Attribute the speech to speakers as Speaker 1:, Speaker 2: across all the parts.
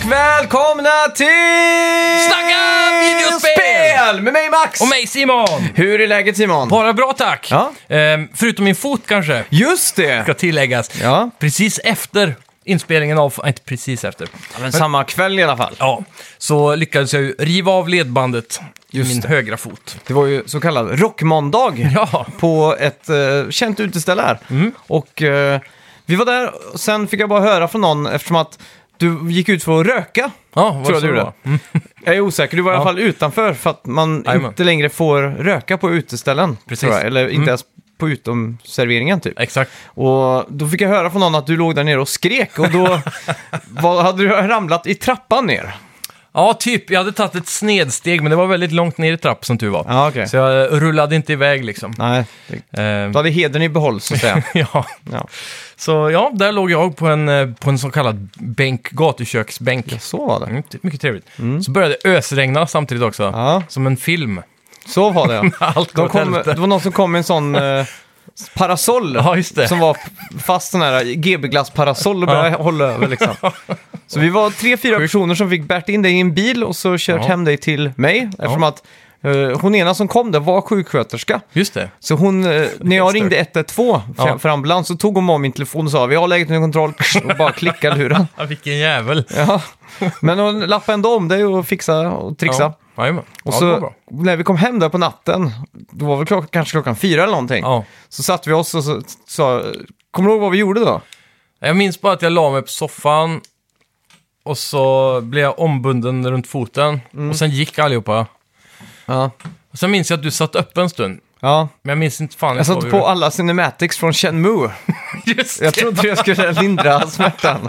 Speaker 1: välkomna till...
Speaker 2: Snacka videospel!
Speaker 1: Spel! Med mig Max!
Speaker 2: Och mig Simon!
Speaker 1: Hur är läget Simon?
Speaker 2: Bara bra tack!
Speaker 1: Ja.
Speaker 2: Ehm, förutom min fot kanske,
Speaker 1: Just
Speaker 2: ska
Speaker 1: det!
Speaker 2: tilläggas.
Speaker 1: Ja.
Speaker 2: Precis efter inspelningen av, nej, inte precis efter,
Speaker 1: Men samma kväll i alla fall.
Speaker 2: ja, så lyckades jag ju riva av ledbandet i
Speaker 1: Just
Speaker 2: min
Speaker 1: det.
Speaker 2: högra fot.
Speaker 1: Det var ju så kallad rockmåndag
Speaker 2: Ja. Mm.
Speaker 1: på ett eh, känt uteställe här. Och eh, vi var där, och sen fick jag bara höra från någon eftersom att du gick ut för att röka.
Speaker 2: Ja, vad
Speaker 1: Tror jag
Speaker 2: så
Speaker 1: du
Speaker 2: det
Speaker 1: gjorde.
Speaker 2: var.
Speaker 1: Jag är osäker, du var i alla
Speaker 2: Ja.
Speaker 1: fall utanför för att man
Speaker 2: Jajamän.
Speaker 1: inte längre får röka på uteställen.
Speaker 2: Precis.
Speaker 1: Tror jag. Eller inte
Speaker 2: Mm.
Speaker 1: ens på utomserveringen typ.
Speaker 2: Exakt.
Speaker 1: Och då fick jag höra från någon att du låg där nere och skrek och då var, hade du ramlat i trappan ner.
Speaker 2: Ja, typ. Jag hade tagit ett snedsteg, men det var väldigt långt ner i trapp som tur var.
Speaker 1: Ja, okej.
Speaker 2: Så jag eh, rullade inte iväg liksom.
Speaker 1: Nej, det-
Speaker 2: Ehm,
Speaker 1: du hade hedern i behåll så att säga.
Speaker 2: ja.
Speaker 1: Ja.
Speaker 2: Så ja, där låg jag på en, eh, på en så kallad bänk, gatuköksbänk.
Speaker 1: Så var det.
Speaker 2: Mm, ty- mycket trevligt. Så började det ösregna samtidigt också.
Speaker 1: Ja,
Speaker 2: Som en film.
Speaker 1: så var det. ja.
Speaker 2: Allt går
Speaker 1: De
Speaker 2: åt
Speaker 1: kom,
Speaker 2: helvete.
Speaker 1: det var någon som kom med en sån eh, parasoll
Speaker 2: Ja, just det.
Speaker 1: som var fast sån här GB-glass-parasoll och började hålla över liksom. Så vi var tre, fyra personer som fick bärt in dig i en bil och så kört
Speaker 2: Ja.
Speaker 1: hem dig till mig eftersom
Speaker 2: Ja.
Speaker 1: att eh, hon ena som kom där var sjuksköterska.
Speaker 2: Just det.
Speaker 1: Så hon, eh, när jag
Speaker 2: Just det.
Speaker 1: ringde 112 för,
Speaker 2: Ja.
Speaker 1: för ambulans så tog hon av min telefon och sa vi har läget under kontroll och bara klickade luren.
Speaker 2: Ja, vilken jävel.
Speaker 1: Ja. Men hon lappade ändå om dig och fixade och trixade.
Speaker 2: Ja, jajamän.
Speaker 1: Och
Speaker 2: ja, det var
Speaker 1: så
Speaker 2: bra.
Speaker 1: när vi kom hem där på natten, då var väl klock, kanske klockan fyra eller någonting,
Speaker 2: Ja.
Speaker 1: så satte vi oss och så- sa, kommer du ihåg vad vi gjorde då?
Speaker 2: Jag minns bara att jag la mig på soffan. Och så blev jag ombunden runt foten.
Speaker 1: Mm.
Speaker 2: Och sen gick allihopa.
Speaker 1: Ja.
Speaker 2: Och sen minns jag att du satt upp en stund.
Speaker 1: ja.
Speaker 2: Men jag minns inte fan
Speaker 1: Jag
Speaker 2: vad
Speaker 1: satte
Speaker 2: vi
Speaker 1: på
Speaker 2: gjorde.
Speaker 1: alla cinematics från Shenmue.
Speaker 2: Just
Speaker 1: Jag
Speaker 2: det.
Speaker 1: trodde jag skulle lindra smärtan.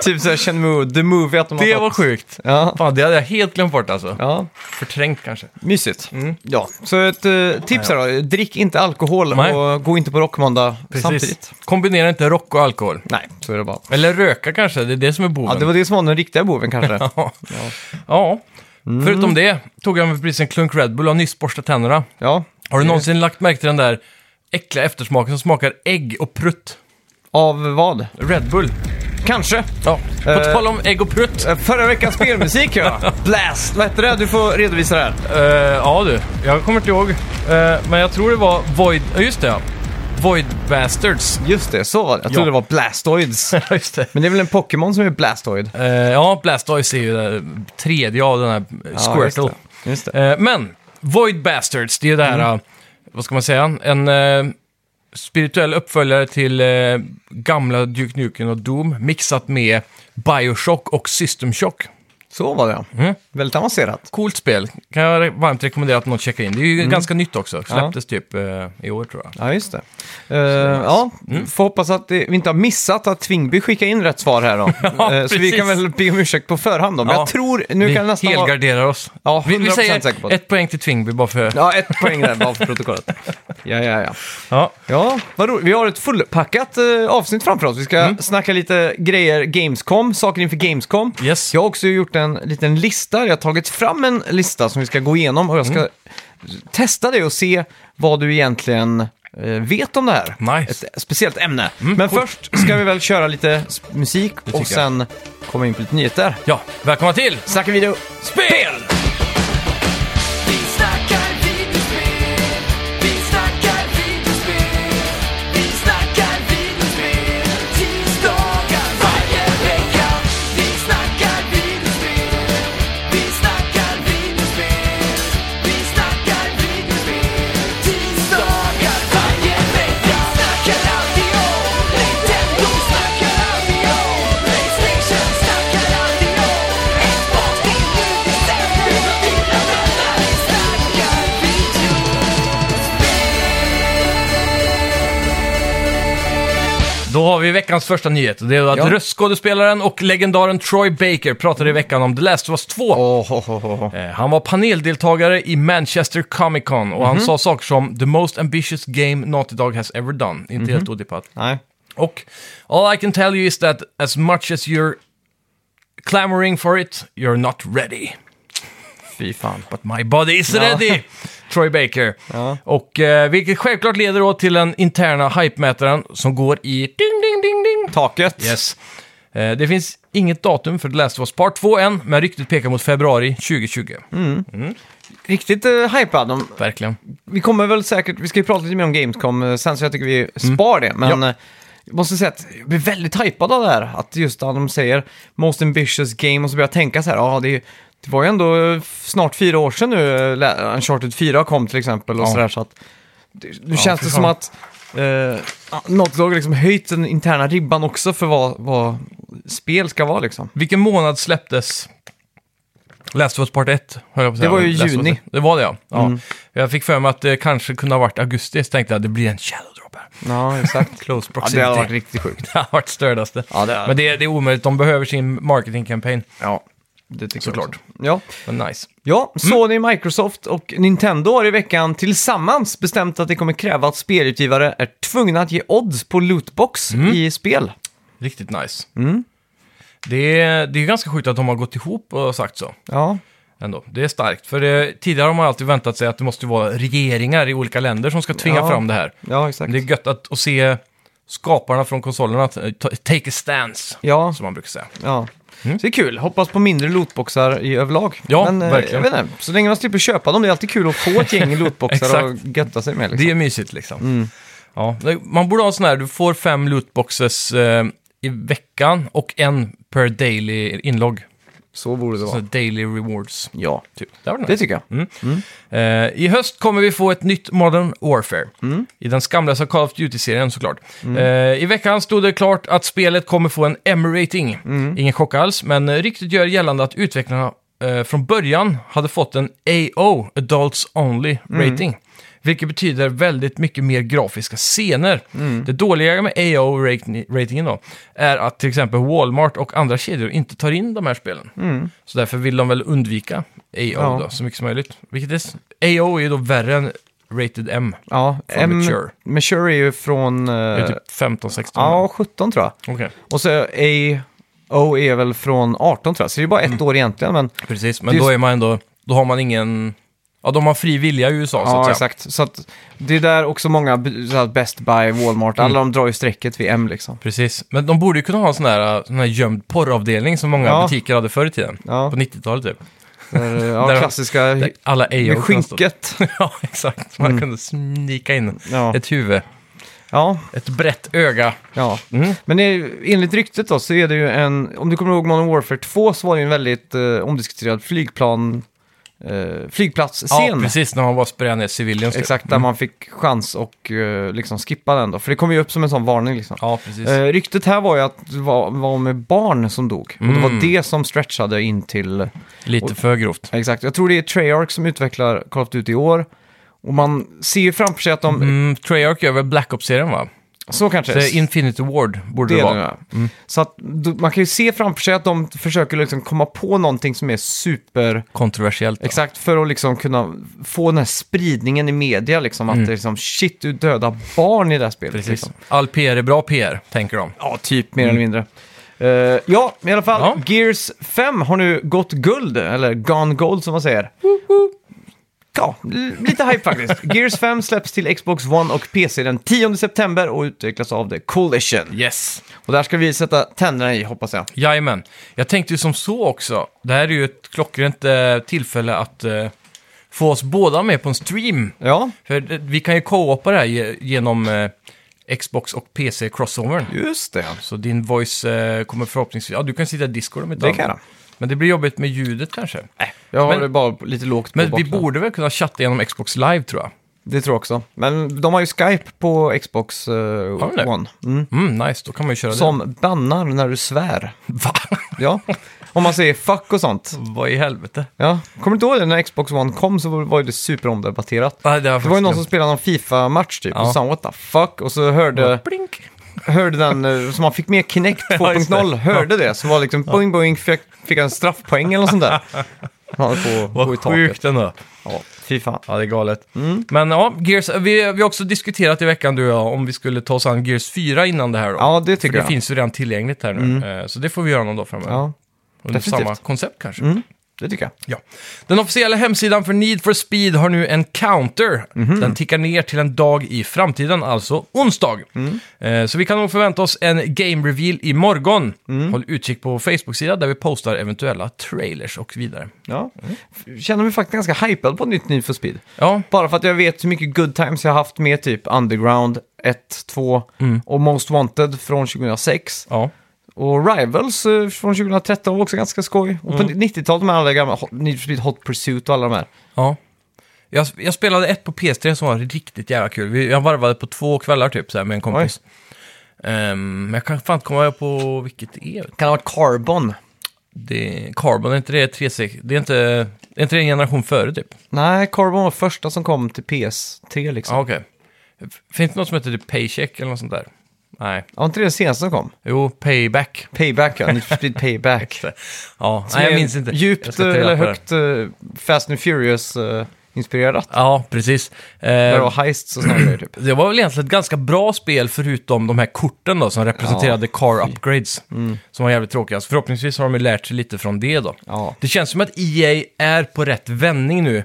Speaker 1: typ såhär Shenmue, the movie att de har
Speaker 2: Det
Speaker 1: fått-
Speaker 2: var sjukt.
Speaker 1: Ja.
Speaker 2: Fan, det hade jag helt glömt bort alltså.
Speaker 1: Ja,
Speaker 2: Förträngt kanske.
Speaker 1: mysigt.
Speaker 2: Mm.
Speaker 1: Ja, så ett eh, tips här då. Drick inte alkohol
Speaker 2: Nej.
Speaker 1: och gå inte på rockmåndag samtidigt.
Speaker 2: Kombinera inte rock och alkohol.
Speaker 1: Nej, så är det bara.
Speaker 2: Eller röka kanske, det är det som är boven.
Speaker 1: Ja, det var det som var den riktiga boven kanske.
Speaker 2: Ja. ja. Förutom det tog jag mig precis en klunk Red Bull och har nyss borstat tänderna.
Speaker 1: Ja,
Speaker 2: Har du någonsin lagt märke till den där äckliga eftersmaken som smakar ägg och prutt?
Speaker 1: av vad?
Speaker 2: Red Bull.
Speaker 1: Kanske.
Speaker 2: Ja. På
Speaker 1: Eh.
Speaker 2: tal om ägg och prutt.
Speaker 1: Eh, Förra veckans spelmusik ja. Blast! Vad hette det? Du får redovisa det här.
Speaker 2: Eh, ja du, jag kommer inte ihåg. Eh, men jag tror det var Void... Ja, just det ja. Void Bastards.
Speaker 1: Just det, så var det. Jag trodde
Speaker 2: Ja.
Speaker 1: det var Blastoids.
Speaker 2: Ja, just det.
Speaker 1: Men det är väl en Pokémon som är Blastoid?
Speaker 2: Eh, ja, Blastoise är ju den tredje av den här eh, Squirtle.
Speaker 1: Ja, just det. Just det.
Speaker 2: Eh, men, Void Bastards, det är ju det här,
Speaker 1: Mm.
Speaker 2: eh, vad ska man säga, en eh, spirituell uppföljare till eh, gamla Duke Nukem och Doom mixat med Bioshock och System Shock.
Speaker 1: Så var det
Speaker 2: Mm.
Speaker 1: ja. Väldigt avancerat.
Speaker 2: Coolt spel, kan jag re- varmt rekommendera att någon checkar in. Det är ju
Speaker 1: Mm.
Speaker 2: ganska nytt också, släpptes typ eh, i år tror jag.
Speaker 1: Ja, just det. Eh, ja,
Speaker 2: Mm.
Speaker 1: får hoppas att det, vi inte har missat att Tvingby skickar in rätt svar här då.
Speaker 2: Ja,
Speaker 1: Eh, så vi
Speaker 2: precis.
Speaker 1: kan väl be om ursäkt på förhand då. Men
Speaker 2: Ja,
Speaker 1: jag tror, nu
Speaker 2: vi
Speaker 1: kan det nästan vara...
Speaker 2: helgarderar oss.
Speaker 1: Ja,
Speaker 2: vi, vi
Speaker 1: 100% säker på
Speaker 2: säger
Speaker 1: det.
Speaker 2: ett poäng till Tvingby bara för...
Speaker 1: Ja, ett poäng där bara för protokollet. Ja, ja, ja.
Speaker 2: Ja.
Speaker 1: Ja, vad roligt. Vi har ett fullpackat eh, avsnitt framför oss. Vi ska
Speaker 2: Mm.
Speaker 1: snacka lite grejer Gamescom, saker inför Gamescom.
Speaker 2: Yes.
Speaker 1: Jag har också gjort en liten lista. Jag har tagit fram en lista som vi ska gå igenom och jag ska
Speaker 2: Mm.
Speaker 1: testa dig och se vad du egentligen eh, vet om det här.
Speaker 2: Nice. Mm,
Speaker 1: Ett speciellt ämne. Men först ska vi väl köra lite s- musik och
Speaker 2: tycker jag.
Speaker 1: sen komma in på lite nyheter.
Speaker 2: ja, välkomna till
Speaker 1: Snacka video.
Speaker 2: Spel!
Speaker 3: Vi snackar videospel, vi snackar videospel, vi snackar videospel, tisdagar varje vecka. Vi snackar videospel, vi snackar videospel, vi snackar videospel, tisdagar varje vecka. Snackar alltid om Nintendo, snackar alltid om Playstation, snackar alltid om Xbox, till Unicef, till dina vänner. Vi snackar video.
Speaker 2: Då har vi veckans första nyhet. Det är att
Speaker 1: Ja.
Speaker 2: röstskådespelaren och legendaren Troy Baker pratade i veckan om The Last of Us 2.
Speaker 1: Oh, oh, oh, oh.
Speaker 2: Eh, Han var paneldeltagare i Manchester Comic Con och
Speaker 1: Mhm.
Speaker 2: han sa saker som “The most ambitious game Naughty Dog has ever done”. Inte
Speaker 1: Mhm.
Speaker 2: helt odippat.
Speaker 1: Nej.
Speaker 2: Och “All I can tell you is that as much as you're clamoring for it, you're not ready.
Speaker 1: Fy fan.
Speaker 2: But my body is ready!” Troy Baker.
Speaker 1: Ja.
Speaker 2: Och eh, vilket självklart leder då till den interna hypemätaren som går i ding, ding, ding, ding.
Speaker 1: Taket.
Speaker 2: Yes. Eh, Det finns inget datum för The Last of Us Part 2 än, men ryktet pekar mot februari 2020.
Speaker 1: Mm. Riktigt uh, hypad. Om,
Speaker 2: Verkligen.
Speaker 1: vi kommer väl säkert, vi ska ju prata lite mer om Gamescom eh, sen så jag tycker vi spar det. Men eh, jag måste säga att jag blir väldigt hypad av det här. Att just att de säger Most Ambitious Game och så börjar jag tänka så här, ja det, är ju- det var ju ändå eh, snart fyra år sedan nu eh, La- Uncharted 4 kom till exempel och
Speaker 2: Ja.
Speaker 1: så där. Så att, det, nu
Speaker 2: Ja,
Speaker 1: känns
Speaker 2: fy
Speaker 1: det
Speaker 2: fan.
Speaker 1: som att eh, Naughty Dog liksom höjt den interna ribban också för vad, vad spel ska vara liksom.
Speaker 2: Vilken månad släpptes Last of Us Part 1? höll jag på att
Speaker 1: Det
Speaker 2: säga.
Speaker 1: var ju
Speaker 2: Last of Us
Speaker 1: juni. Mm.
Speaker 2: 1. Det var det ja. ja. Jag fick för mig att det kanske kunde ha varit augusti, så tänkte jag att det blir en shadow drop här.
Speaker 1: Ja, exakt.
Speaker 2: Close
Speaker 1: ja, det
Speaker 2: proximity.
Speaker 1: har varit riktigt sjukt.
Speaker 2: det har varit stördaste.
Speaker 1: Ja, det har
Speaker 2: Men det, det är omöjligt, de behöver sin marketingkampanj.
Speaker 1: Ja, det tycker
Speaker 2: Såklart.
Speaker 1: jag också. Ja.
Speaker 2: Men nice.
Speaker 1: Ja,
Speaker 2: Mm.
Speaker 1: Sony, Microsoft och Nintendo har i veckan tillsammans bestämt att det kommer kräva att spelutgivare är tvungna att ge odds på lootbox
Speaker 2: Mm.
Speaker 1: i spel.
Speaker 2: Riktigt nice.
Speaker 1: Mm.
Speaker 2: Det, är- det är ju ganska sjukt att de har gått ihop och sagt så.
Speaker 1: Ja,
Speaker 2: Ändå. Det är starkt, för eh, tidigare har man alltid väntat sig att det måste vara regeringar i olika länder som ska tvinga
Speaker 1: Ja.
Speaker 2: fram det här.
Speaker 1: ja
Speaker 2: Men
Speaker 1: exakt.
Speaker 2: det är gött att, att se skaparna från konsolerna att, eh, ta- take a stance,
Speaker 1: Ja,
Speaker 2: som man brukar säga.
Speaker 1: ja. Så det är kul. Hoppas på mindre lootboxar i överlag.
Speaker 2: Mm. Ja,
Speaker 1: Men, eh,
Speaker 2: verkligen.
Speaker 1: Jag vet inte, så länge man slipper köpa dem, det är alltid kul att få ett gäng lootboxar och götta sig med. Liksom.
Speaker 2: Det är mysigt liksom.
Speaker 1: Mm.
Speaker 2: Ja, det- man borde ha en sån här, du får fem lootboxes eh, i veckan och en per daily inlogg.
Speaker 1: Så borde det
Speaker 2: Så daily rewards.
Speaker 1: Ja,
Speaker 2: Typ. Det var nice.
Speaker 1: det tycker jag.
Speaker 2: Eh, I höst kommer vi få ett nytt Modern Warfare. I den skamlösa Call of Duty-serien såklart. Eh, I veckan stod det klart att spelet kommer få en M-rating. Ingen chock alls, men eh, ryktet gör gällande att utvecklarna eh, från början hade fått en AO, Adults Only Rating. Vilket betyder väldigt mycket mer grafiska scener. Det dåliga med AO-ratingen då är att till exempel Walmart och andra kedjor inte tar in de här spelen. Så därför vill de väl undvika AO
Speaker 1: Ja.
Speaker 2: då, så mycket som möjligt. Vilket är, s- AO är ju då värre än Rated M.
Speaker 1: Ja,
Speaker 2: Från Mature.
Speaker 1: Mature är ju från... eh,
Speaker 2: Det är typ 15-16.
Speaker 1: Ja, 17 tror jag.
Speaker 2: Okej,
Speaker 1: Och så AO är väl från 18 tror jag, så det är bara ett
Speaker 2: Mm.
Speaker 1: år egentligen. Men,
Speaker 2: precis. Men
Speaker 1: Det är
Speaker 2: då
Speaker 1: s-
Speaker 2: är man ändå, då har man ingen... Ja, de har fri vilja i USA så att
Speaker 1: ja,
Speaker 2: säga.
Speaker 1: exakt. Så att det är där också många, b- så här, Best Buy, Walmart, alla de
Speaker 2: Mm.
Speaker 1: drar ju strecket vid M liksom.
Speaker 2: Precis, men de borde ju kunna ha en sån här, sån här gömd porravdelning som många
Speaker 1: Ja.
Speaker 2: butiker hade förr i tiden.
Speaker 1: Ja.
Speaker 2: På 90-talet typ.
Speaker 1: Där, eh, ja,
Speaker 2: Där-
Speaker 1: klassiska
Speaker 2: Där alla AO
Speaker 1: med
Speaker 2: kunde stå.
Speaker 1: skynket.
Speaker 2: ja, exakt. Man kunde snika in
Speaker 1: Ja.
Speaker 2: ett huvud,
Speaker 1: Ja,
Speaker 2: ett brett öga.
Speaker 1: ja. Men eh, enligt ryktet då så är det ju en, om du kommer ihåg Modern Warfare 2 så var det ju en väldigt eh, omdiskuterad flygplan, eh,
Speaker 2: Ja,
Speaker 1: flygplatsscen.
Speaker 2: precis. När man bara sprayade ner civilians. typ.
Speaker 1: Exakt, där man fick chans och eh, liksom skippa den då. För det kom ju upp som en sån varning liksom.
Speaker 2: Ja, precis.
Speaker 1: Eh, ryktet här var ju att det var, var med barn som dog. Och det var
Speaker 2: Mm.
Speaker 1: det som stretchade in till...
Speaker 2: Lite för grovt.
Speaker 1: Exakt, jag tror det är Treyarch som utvecklar Call of Duty i år. Och man ser ju framför sig att de...
Speaker 2: Mm, Treyarch gör väl Black Ops-serien va?
Speaker 1: Så kanske.
Speaker 2: Så Infinity Ward borde det,
Speaker 1: det är
Speaker 2: vara.
Speaker 1: det. Så att du- man kan ju se framför sig att de försöker liksom komma på någonting som är super...
Speaker 2: Kontroversiellt. då.
Speaker 1: Exakt, för att liksom kunna få den här spridningen i media liksom. Att det är liksom, shit, du dödar barn i det här spelet.
Speaker 2: Mm. Precis.
Speaker 1: Liksom.
Speaker 2: All PR är bra PR, tänker de.
Speaker 1: Ja, typ mer eller mindre. Eh, ja, i alla fall.
Speaker 2: Mm. Ja.
Speaker 1: Gears 5 har nu gått guld, eller gone gold som man säger. Ja, l- lite hype faktiskt. Gears 5 släpps till Xbox One och PC den 10 september och utvecklas av The Coalition.
Speaker 2: Yes!
Speaker 1: Och där ska vi sätta tänderna i, hoppas jag.
Speaker 2: Jajamän. Jag tänkte ju som så också. Det här är ju ett klockrent eh, tillfälle att eh, få oss båda med på en stream.
Speaker 1: Ja,
Speaker 2: För det- vi kan ju co-opa det här ge- genom eh, Xbox och PC crossovern.
Speaker 1: just det.
Speaker 2: Så din voice eh, kommer förhoppningsvis... Ja, du kan sitta i Discord om inte
Speaker 1: Det kan
Speaker 2: annat.
Speaker 1: jag. Äh,
Speaker 2: Men det blir jobbigt med ljudet kanske.
Speaker 1: Jag har
Speaker 2: Men-
Speaker 1: det bara lite lågt på
Speaker 2: Men vi
Speaker 1: botten.
Speaker 2: borde väl kunna chatta genom Xbox live tror jag.
Speaker 1: Det tror jag också. Men de har ju Skype på Xbox eh,
Speaker 2: de det?
Speaker 1: One. Mm.
Speaker 2: Mm, nice, då kan man ju köra
Speaker 1: Som bannar när du svär.
Speaker 2: det. Va?
Speaker 1: Ja, om man säger fuck och sånt.
Speaker 2: Vad i helvete?
Speaker 1: Ja, kommer du inte ihåg det? När Xbox One kom så var det superomdebatterat.
Speaker 2: Nej, det,
Speaker 1: Det var ju någon som spelade någon Fifa-match typ
Speaker 2: Ja.
Speaker 1: och sa what the fuck och så hörde,
Speaker 2: Blink!
Speaker 1: hörde den, eh, så man fick med Kinect
Speaker 2: Ja, just det.
Speaker 1: 2.0, hörde det. Så var det liksom boing boing, fick, fick han en straffpoäng eller något sånt där. Han höll på, på i
Speaker 2: Vad
Speaker 1: taket.
Speaker 2: sjukt ändå.
Speaker 1: Ja, fy fan.
Speaker 2: Ja, det är galet.
Speaker 1: Mm.
Speaker 2: Men ja, Gears, vi, vi har också diskuterat i veckan du och jag om vi skulle ta oss an Gears 4 innan det här då.
Speaker 1: Ja, det tycker
Speaker 2: För det
Speaker 1: jag. Mm.
Speaker 2: finns ju redan tillgängligt här nu. Eh, Så det får vi göra någon dag framöver.
Speaker 1: Ja.
Speaker 2: Under
Speaker 1: definitivt. Mm.
Speaker 2: samma koncept kanske.
Speaker 1: Det tycker jag.
Speaker 2: Ja. Den officiella hemsidan för Need for Speed har nu en counter.
Speaker 1: Mhm.
Speaker 2: Den tickar ner till en dag i framtiden, alltså onsdag.
Speaker 1: Mm.
Speaker 2: Eh, Så vi kan nog förvänta oss en game reveal imorgon.
Speaker 1: Mm.
Speaker 2: Håll utkik på Facebook-sida där vi postar eventuella trailers och vidare.
Speaker 1: Ja.
Speaker 2: Mm.
Speaker 1: F- Känner mig faktiskt ganska hypad på nytt Need for Speed.
Speaker 2: Ja,
Speaker 1: Bara för att jag vet hur mycket good times jag har haft med typ Underground 1, 2
Speaker 2: Mm.
Speaker 1: och Most Wanted från 2006.
Speaker 2: ja.
Speaker 1: Och Rivals eh, från 2013 var också ganska skoj. Och på
Speaker 2: Mm.
Speaker 1: 90-talet med alla de gamla Hot- Need for Speed Hot Pursuit och alla de här.
Speaker 2: ja. Jag, jag spelade ett på PS3 som var riktigt jävla kul. Vi- Jag varvade på två kvällar typ så här, med en kompis. Ehm, men jag kan fan inte komma på vilket det är.
Speaker 1: Kan ha varit Carbon.
Speaker 2: Det, Carbon, är inte det 360? Det är inte, det är inte det en generation före typ?
Speaker 1: Nej, Carbon var första som kom till PS3 liksom.
Speaker 2: Ja, okej. F- Finns det något som heter typ Paycheck eller något sånt där? Nej.
Speaker 1: Var inte det det senaste som kom?
Speaker 2: Jo, Payback.
Speaker 1: Payback ja, Need for Speed Payback.
Speaker 2: Ja, nej, jag minns inte. Jag
Speaker 1: Djupt
Speaker 2: ska
Speaker 1: eh,
Speaker 2: ta reda
Speaker 1: eller
Speaker 2: på det.
Speaker 1: högt eh, Fast and Furious-inspirerat.
Speaker 2: Ja, precis. Eh,
Speaker 1: Där det var heists och sådana grejer typ.
Speaker 2: det var väl egentligen ett ganska bra spel förutom de här korten då som representerade car upgrades.
Speaker 1: Mm.
Speaker 2: Som var jävligt tråkiga. Så förhoppningsvis har de ju lärt sig lite från det då.
Speaker 1: Ja.
Speaker 2: Det känns som att EA är på rätt vändning nu.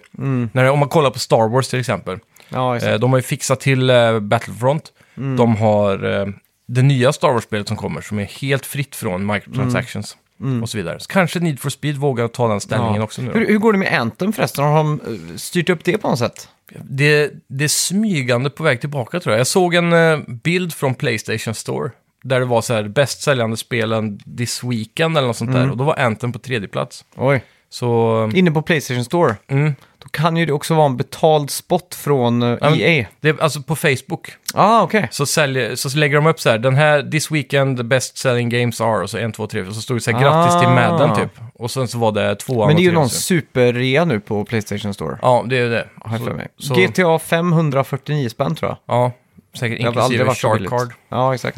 Speaker 2: När, om man kollar på Star Wars till exempel.
Speaker 1: Ja, Mm. exakt. Mm.
Speaker 2: Eh, de har ju fixat till eh, Battlefront. De har eh, det nya Star Wars-spelet som kommer som är helt fritt från microtransactions och så vidare. Så kanske Need for Speed vågar ta den ställningen också nu.
Speaker 1: Mm. Hur,
Speaker 2: då.
Speaker 1: hur går det med Anthem förresten? Har de eh, styrt upp det på något sätt?
Speaker 2: Det, det är smygande på väg tillbaka tror jag. Jag såg en eh, bild från Playstation Store där det var så här bäst säljande spelen this weekend eller något sånt
Speaker 1: Mm.
Speaker 2: där. Och då var Anthem på tredje plats.
Speaker 1: Oj.
Speaker 2: Så
Speaker 1: Inne på Playstation Store.
Speaker 2: Mm.
Speaker 1: Då kan ju det också vara en betald spot från eh,
Speaker 2: men-
Speaker 1: EA.
Speaker 2: det är alltså på Facebook
Speaker 1: Ah, okej.
Speaker 2: så, säljer, så lägger de upp så här, den här, this weekend best selling games are, och så en, två, tre, och så stod det så här, grattis till
Speaker 1: Ah.
Speaker 2: Madden typ. Och sen så var det tvåan
Speaker 1: Men det är ju
Speaker 2: och trean,
Speaker 1: någon
Speaker 2: så.
Speaker 1: superrea nu på Playstation Store.
Speaker 2: Ja, det är det.
Speaker 1: Har jag för mig.
Speaker 2: Så, så,
Speaker 1: GTA 549 spänn tror jag.
Speaker 2: ja, säkert
Speaker 1: Det har väl aldrig
Speaker 2: inklusive
Speaker 1: varit så
Speaker 2: Shark
Speaker 1: billigt.
Speaker 2: Card.
Speaker 1: Ja, exakt.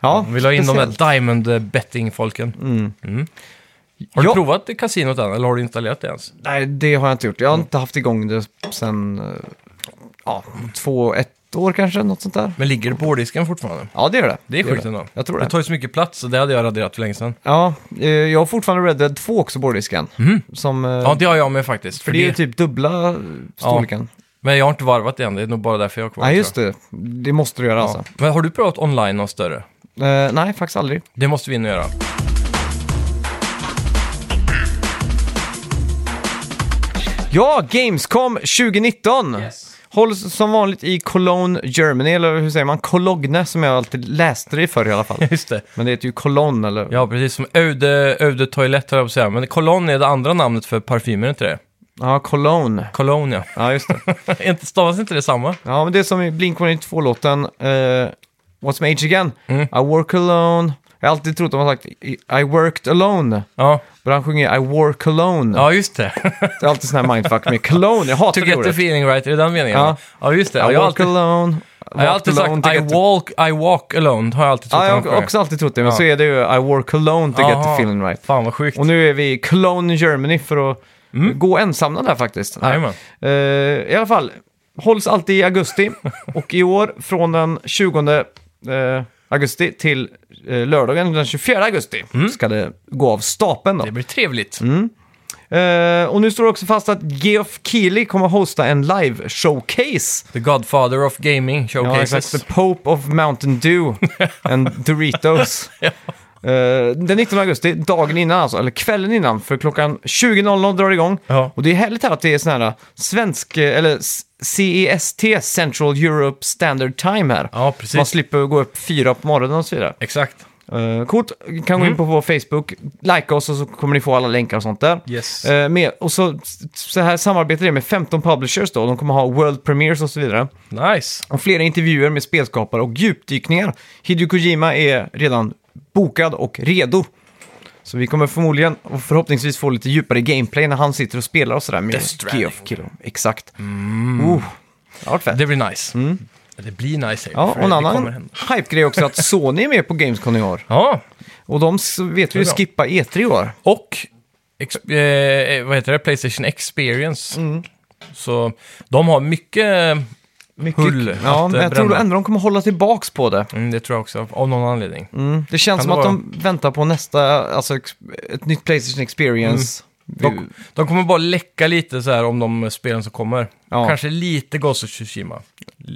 Speaker 1: Ja,
Speaker 2: Vill ha in
Speaker 1: speciellt.
Speaker 2: de där diamond betting-folken. Mm. Har du
Speaker 1: Ja.
Speaker 2: provat kasinot än, eller har du installerat det ens?
Speaker 1: Nej, det har jag inte gjort. Jag har
Speaker 2: Mm.
Speaker 1: inte haft igång det sen eh, ja, två, ett år kanske, något sånt där.
Speaker 2: Men ligger det på hårddisken fortfarande?
Speaker 1: Ja, det gör det.
Speaker 2: Det är
Speaker 1: gör
Speaker 2: sjukt ändå.
Speaker 1: Jag tror
Speaker 2: Det
Speaker 1: det.
Speaker 2: tar ju så mycket plats, så det hade jag raderat för länge sedan.
Speaker 1: Ja, eh, jag har fortfarande Red Dead 2 också på hårddisken. Som, eh,
Speaker 2: Mhm. Ja, det har jag med faktiskt.
Speaker 1: för det är ju typ dubbla eh, storleken.
Speaker 2: Men jag har inte varvat det än, det är nog bara därför jag har kvar
Speaker 1: Nej,
Speaker 2: tror
Speaker 1: just det. Det måste du göra
Speaker 2: jag.
Speaker 1: alltså.
Speaker 2: Ja. Men har du provat online något större?
Speaker 1: Eh, nej, faktiskt aldrig.
Speaker 2: Det måste vi nu göra.
Speaker 1: Ja, Gamescom 2019! Hålls som vanligt i Cologne, Germany, eller hur säger man? Cologne, som jag alltid läste det i förr i alla fall.
Speaker 2: Just det.
Speaker 1: Men det heter ju Cologne, eller?
Speaker 2: Ja, precis som Öde, Öde Toilett höll jag på att säga. Men Cologne är det andra namnet för parfymer, är inte det?
Speaker 1: ja Cologne.
Speaker 2: Cologne,
Speaker 1: Ja, just det.
Speaker 2: ja. Inte- Stavas inte det samma?
Speaker 1: Ja, men det är som i Blink-182-låten eh, What's My Age Again?
Speaker 2: Mm.
Speaker 1: I work alone. Jag har alltid trott att de har sagt I I worked alone.
Speaker 2: Ja,
Speaker 1: Men han sjunger I work alone.
Speaker 2: ja just det.
Speaker 1: Det är alltid sån här mindfuck med cologne. Jag hatar
Speaker 2: to
Speaker 1: det
Speaker 2: get the
Speaker 1: ordet. I
Speaker 2: feeling right, är det den meningen?
Speaker 1: Ja.
Speaker 2: Ja, ja just det. Ja,
Speaker 1: work
Speaker 2: jag har alltid,
Speaker 1: alone.
Speaker 2: jag har alltid sagt I walk, I walk alone, har jag alltid trott
Speaker 1: Ja, jag
Speaker 2: att de
Speaker 1: har
Speaker 2: sjöng.
Speaker 1: också alltid trott det, men
Speaker 2: Ja.
Speaker 1: så är det ju I work alone to get the
Speaker 2: Aha.
Speaker 1: feeling right.
Speaker 2: Fan vad sjukt.
Speaker 1: Och nu är vi i Cologne, Germany för att gå ensamma där faktiskt.
Speaker 2: Mm. Jajamän.
Speaker 1: Eh, I alla fall, hålls alltid i augusti och i år från den 20 eh, augusti till eh, lördagen den 24 augusti
Speaker 2: Mm.
Speaker 1: ska det gå av stapeln. Då.
Speaker 2: Det blir trevligt.
Speaker 1: Mm. Eh, och nu står det också fast att Geoff Keighley kommer hosta en live-showcase.
Speaker 2: The Godfather of Gaming
Speaker 1: Ja,
Speaker 2: Showcases.
Speaker 1: exakt. The Pope of Mountain Dew and Doritos. Eh, den 19 augusti, dagen innan alltså, eller kvällen innan, för klockan 20.00 drar det igång.
Speaker 2: Ja.
Speaker 1: Och det är härligt här att det är sån här svensk, eh, eller s- CEST, Central Europe Standard Time här.
Speaker 2: Ja,
Speaker 1: Man
Speaker 2: precis.
Speaker 1: slipper gå upp fyra på morgonen och så vidare.
Speaker 2: Exakt.
Speaker 1: Uh, coolt, kan
Speaker 2: Mm.
Speaker 1: gå in på vår Facebook, likea oss och så kommer ni få alla länkar och sånt där.
Speaker 2: Yes.
Speaker 1: Eh, med, och så, så här samarbetar det med 15 publishers då, de kommer ha world premieres och så vidare.
Speaker 2: Nice.
Speaker 1: Och flera intervjuer med spelskapare och djupdykningar. Hideo Kojima är redan bokad och redo. Så vi kommer förmodligen och förhoppningsvis få lite djupare gameplay när han sitter och spelar och sådär med
Speaker 2: Death Stranding. Mm.
Speaker 1: Geoff Killer. Exakt. Oh, det har varit fett.
Speaker 2: Det blir nice. Det blir nice. säger vi,
Speaker 1: Mm. Ja,
Speaker 2: för
Speaker 1: och en
Speaker 2: det kommer
Speaker 1: annan
Speaker 2: hända.
Speaker 1: hype-grej också är att Sony är med på Gamescom i år.
Speaker 2: Ja,
Speaker 1: Och de s- vet vi
Speaker 2: är
Speaker 1: ju
Speaker 2: bra.
Speaker 1: skippa E3 i år.
Speaker 2: och ex- eh, vad heter det? Playstation Experience.
Speaker 1: Mm.
Speaker 2: Så de har mycket, mm, mycket hull
Speaker 1: Ja,
Speaker 2: att
Speaker 1: men
Speaker 2: eh,
Speaker 1: jag tror
Speaker 2: bränna.
Speaker 1: ändå de kommer hålla tillbaks på det.
Speaker 2: Mm, det tror jag också, av någon anledning.
Speaker 1: Det känns
Speaker 2: Mm. Kan
Speaker 1: som
Speaker 2: det
Speaker 1: att
Speaker 2: vara?
Speaker 1: de väntar på nästa, alltså ex- ett nytt Playstation Experience.
Speaker 2: De, de kommer bara läcka lite så här om de spelen som kommer.
Speaker 1: Ja.
Speaker 2: Kanske lite Ghost of Tsushima.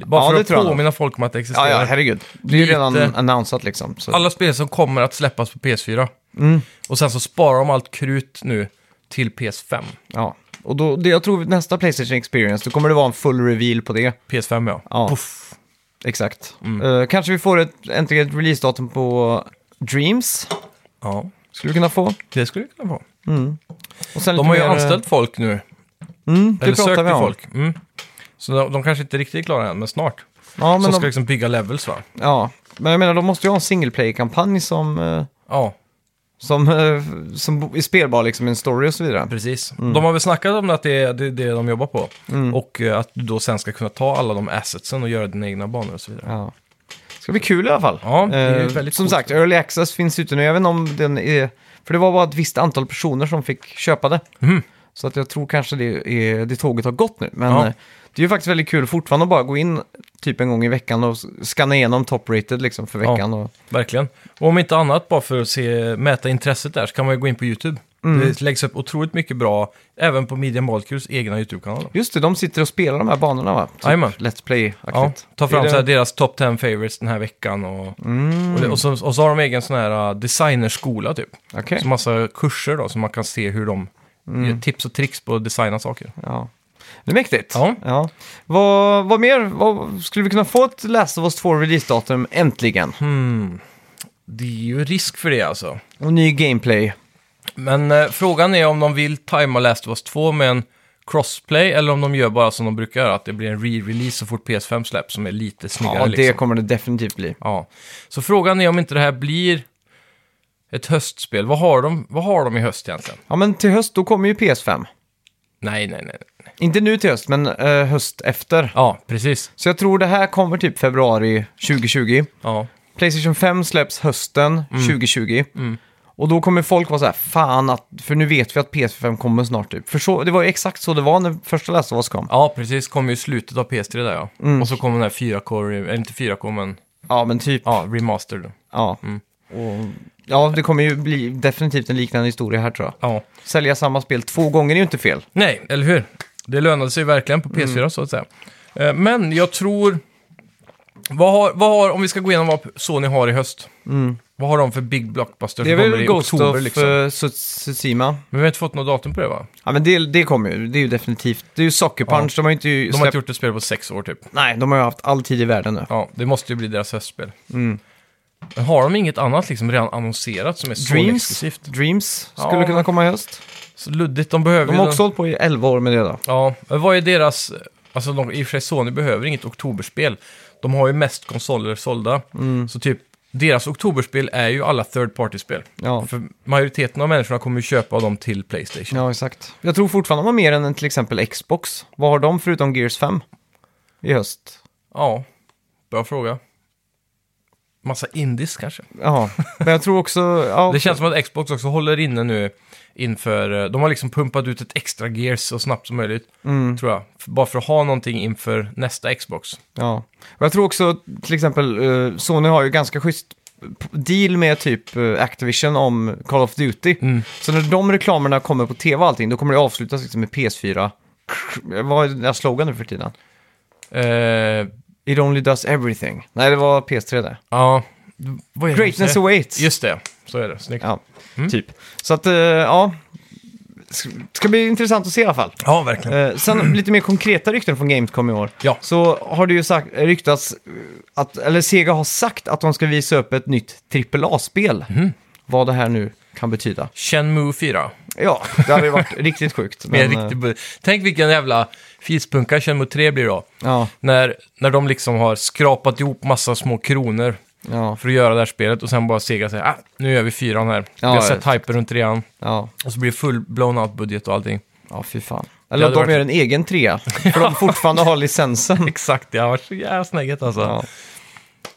Speaker 2: Bara
Speaker 1: Ja, det
Speaker 2: för
Speaker 1: tror jag
Speaker 2: att
Speaker 1: nog.
Speaker 2: påminna folk om att det existerar.
Speaker 1: Ja, ja, herregud. Det är ju
Speaker 2: Lite-
Speaker 1: redan annonsat liksom. Så.
Speaker 2: Alla spel som kommer att släppas på PS4.
Speaker 1: Mm.
Speaker 2: Och sen så sparar de allt krut nu till PS5.
Speaker 1: Ja. Och då, det, jag tror vid nästa Playstation Experience, då kommer det vara en full reveal på det.
Speaker 2: PS5 ja.
Speaker 1: Ja.
Speaker 2: Puff. Mm.
Speaker 1: Exakt. Eh, kanske vi får ett, äntligen ett releasedatum på Dreams.
Speaker 2: ja.
Speaker 1: Skulle vi kunna få.
Speaker 2: Det skulle det kunna vara.
Speaker 1: Och sen
Speaker 2: De
Speaker 1: lite
Speaker 2: har ju
Speaker 1: mer, eh,
Speaker 2: anställt folk nu.
Speaker 1: Mm, det pratar
Speaker 2: Eller sökt
Speaker 1: vi
Speaker 2: till
Speaker 1: om.
Speaker 2: folk. Mm. Så de, de kanske inte riktigt är klara än, men snart.
Speaker 1: Ja, men
Speaker 2: Som
Speaker 1: de,
Speaker 2: ska liksom bygga levels va?
Speaker 1: ja, men jag menar, de måste ju ha en single play-kampanj som, eh,
Speaker 2: Ja,
Speaker 1: som, eh, som bo- är spelbar liksom, i en story och så vidare.
Speaker 2: precis.
Speaker 1: Mm.
Speaker 2: De har väl snackat om att det är det, är det de jobbar på. Och eh, att du då sen ska kunna ta alla de assetsen och göra dina egna banor och så vidare.
Speaker 1: Ja. Ska bli kul i alla fall.
Speaker 2: Ja, det är
Speaker 1: Eh,
Speaker 2: väldigt
Speaker 1: som
Speaker 2: coolt.
Speaker 1: sagt, Early Access finns ute nu. Jag vet inte om den är... För det var bara ett visst antal personer som fick köpa det.
Speaker 2: Mm.
Speaker 1: Så att jag tror kanske det, är, det tåget har gått nu. Men
Speaker 2: Ja.
Speaker 1: eh, det är ju faktiskt väldigt kul fortfarande att bara gå in typ en gång i veckan och s- scanna igenom top-rated liksom för
Speaker 2: Ja.
Speaker 1: veckan. Och,
Speaker 2: Verkligen. Och om inte annat, bara för att se, mäta intresset där, så kan man ju gå in på YouTube.
Speaker 1: Mm.
Speaker 2: Det läggs upp otroligt mycket bra, även på Media Molecules egna YouTube-kanal.
Speaker 1: just det, de sitter och spelar de här banorna va? Typ
Speaker 2: Jajamän.
Speaker 1: Let's Play-aktigt.
Speaker 2: Ja, ta
Speaker 1: Är
Speaker 2: fram
Speaker 1: det- Mm.
Speaker 2: så här deras top 10 favorites den här veckan. Och, och, det, och, så, och så har de egen sån här uh, designerskola typ.
Speaker 1: Okej. Mm.
Speaker 2: Så massa kurser då, så man kan se hur de ger tips och tricks på att designa saker.
Speaker 1: Ja. Det är mäktigt.
Speaker 2: Ja.
Speaker 1: Vad, vad mer? Vad, skulle vi kunna få ett Last of Us 2-releasedatum äntligen?
Speaker 2: Det är ju risk för det alltså.
Speaker 1: Och ny gameplay.
Speaker 2: Men eh, frågan är om de vill tajma Last of Us 2 med en crossplay eller om de gör bara som de brukar göra, att det blir en re-release så fort PS5 släpps som är lite snyggare.
Speaker 1: Ja, det
Speaker 2: liksom.
Speaker 1: kommer det definitivt bli.
Speaker 2: Ja. Så frågan är om inte det här blir ett höstspel. Vad har de, vad har de i höst egentligen?
Speaker 1: Ja, men till höst, då kommer ju PS5.
Speaker 2: Nej, nej, nej.
Speaker 1: Inte nu till höst, men eh, höst efter.
Speaker 2: Ja, precis.
Speaker 1: Så jag tror det här kommer typ februari 2020.
Speaker 2: Ja.
Speaker 1: Playstation 5 släpps hösten
Speaker 2: Mm.
Speaker 1: 2020. Och då kommer folk vara så här, fan att, för nu vet vi att PS5 kommer snart typ. För så, det var ju exakt så det var när första Last of Us kom.
Speaker 2: Ja, precis. Kommer ju slutet av PS3 där ja. Och så kommer den här 4K, re- eller inte 4K men
Speaker 1: Ja, men typ.
Speaker 2: ja, remastered.
Speaker 1: Ja.
Speaker 2: Mm.
Speaker 1: Och, ja, det kommer ju bli definitivt en liknande historia här tror jag.
Speaker 2: Ja.
Speaker 1: Sälja samma spel två gånger är ju inte fel.
Speaker 2: Nej, eller hur? Det lönade sig verkligen på PS4
Speaker 1: Mm.
Speaker 2: så att säga. Eh, Men jag tror... Vad har, vad har, om vi ska gå igenom vad Sony har i höst. Vad har de för big blockbuster
Speaker 1: Mm. Det är
Speaker 2: som kommer
Speaker 1: väl
Speaker 2: i
Speaker 1: Ghost
Speaker 2: oktober
Speaker 1: of
Speaker 2: liksom?
Speaker 1: eh, Tsu- Tsushima.
Speaker 2: Men vi har inte fått något datum på det va?
Speaker 1: Ja, men det, det kommer ju. Det är ju definitivt. Det är ju Sucker Punch. De har ju inte
Speaker 2: De
Speaker 1: ju
Speaker 2: har
Speaker 1: släppt...
Speaker 2: inte gjort ett spel på sex år typ.
Speaker 1: Nej, de har ju haft all tid i världen nu.
Speaker 2: Ja, det måste ju bli deras höstspel.
Speaker 1: Mm.
Speaker 2: Men har de inget annat liksom redan annonserat som är
Speaker 1: Dreams,
Speaker 2: Sony-exklusivt?
Speaker 1: Dreams
Speaker 2: Ja,
Speaker 1: skulle kunna
Speaker 2: men-
Speaker 1: komma i höst.
Speaker 2: Så luddigt, de behöver
Speaker 1: De
Speaker 2: ju
Speaker 1: har
Speaker 2: den-
Speaker 1: också hållit på i 11 år med det då.
Speaker 2: Ja, men vad är deras... Alltså de, i och för sig Sony behöver inget oktoberspel. De har ju mest konsoler sålda.
Speaker 1: Mm.
Speaker 2: Så typ, deras oktoberspel är ju alla third party-spel.
Speaker 1: Ja.
Speaker 2: För majoriteten av människorna kommer ju köpa dem till Playstation.
Speaker 1: Ja, exakt. Jag tror fortfarande de har mer än till exempel Xbox. Vad har de förutom Gears 5 i höst?
Speaker 2: Ja, bra fråga. Massa indies kanske.
Speaker 1: Ja, men jag tror också... Ja,
Speaker 2: Det känns som att Xbox också håller inne nu inför... eh, De har liksom pumpat ut ett extra gears så snabbt som möjligt,
Speaker 1: Mm.
Speaker 2: tror jag. F- Bara för att ha någonting inför nästa Xbox.
Speaker 1: ja. Och jag tror också till exempel eh, Sony har ju ganska schysst p- deal med typ eh, Activision om Call of Duty. Så när de reklamerna kommer på tv och allting, då kommer det avslutas liksom med PS4. Vad är den där sloganen för tiden?
Speaker 2: Eh,
Speaker 1: It only does everything. Nej, det var PS3 där.
Speaker 2: ja, vad är det de
Speaker 1: Greatness
Speaker 2: säger?
Speaker 1: awaits.
Speaker 2: Just det, så är det. Snyggt.
Speaker 1: Ja, typ. Så att, eh, ja. Ska- Ska bli intressant att se i alla fall.
Speaker 2: Ja, verkligen.
Speaker 1: Eh, sen lite mer konkreta rykten från Gamescom i år.
Speaker 2: Ja.
Speaker 1: Så har det ju sagt, ryktats eh, att, eller Sega har sagt att de ska visa upp ett nytt AAA-spel.
Speaker 2: Mhm.
Speaker 1: Vad det här nu kan betyda.
Speaker 2: Shenmue 4.
Speaker 1: Ja, det hade ju varit riktigt sjukt.
Speaker 2: Med
Speaker 1: men, eh,
Speaker 2: riktig bu- Tänk vilken jävla fispunka Shenmue 3 blir då.
Speaker 1: Ja,
Speaker 2: När, när de liksom har skrapat ihop massa små kronor
Speaker 1: ja,
Speaker 2: för att göra det här spelet och sen bara Sega säger ah, nu gör vi fyran här. vi
Speaker 1: ja,
Speaker 2: har sett hyper runt trean
Speaker 1: ja,
Speaker 2: och så blir det full blown-out budget och allting.
Speaker 1: ja, fy fan. Eller att de
Speaker 2: hade varit-
Speaker 1: gör en egen trea, för de fortfarande har licensen.
Speaker 2: Exakt, det har varit så jävla snägget alltså.
Speaker 1: Ja,
Speaker 2: Ja.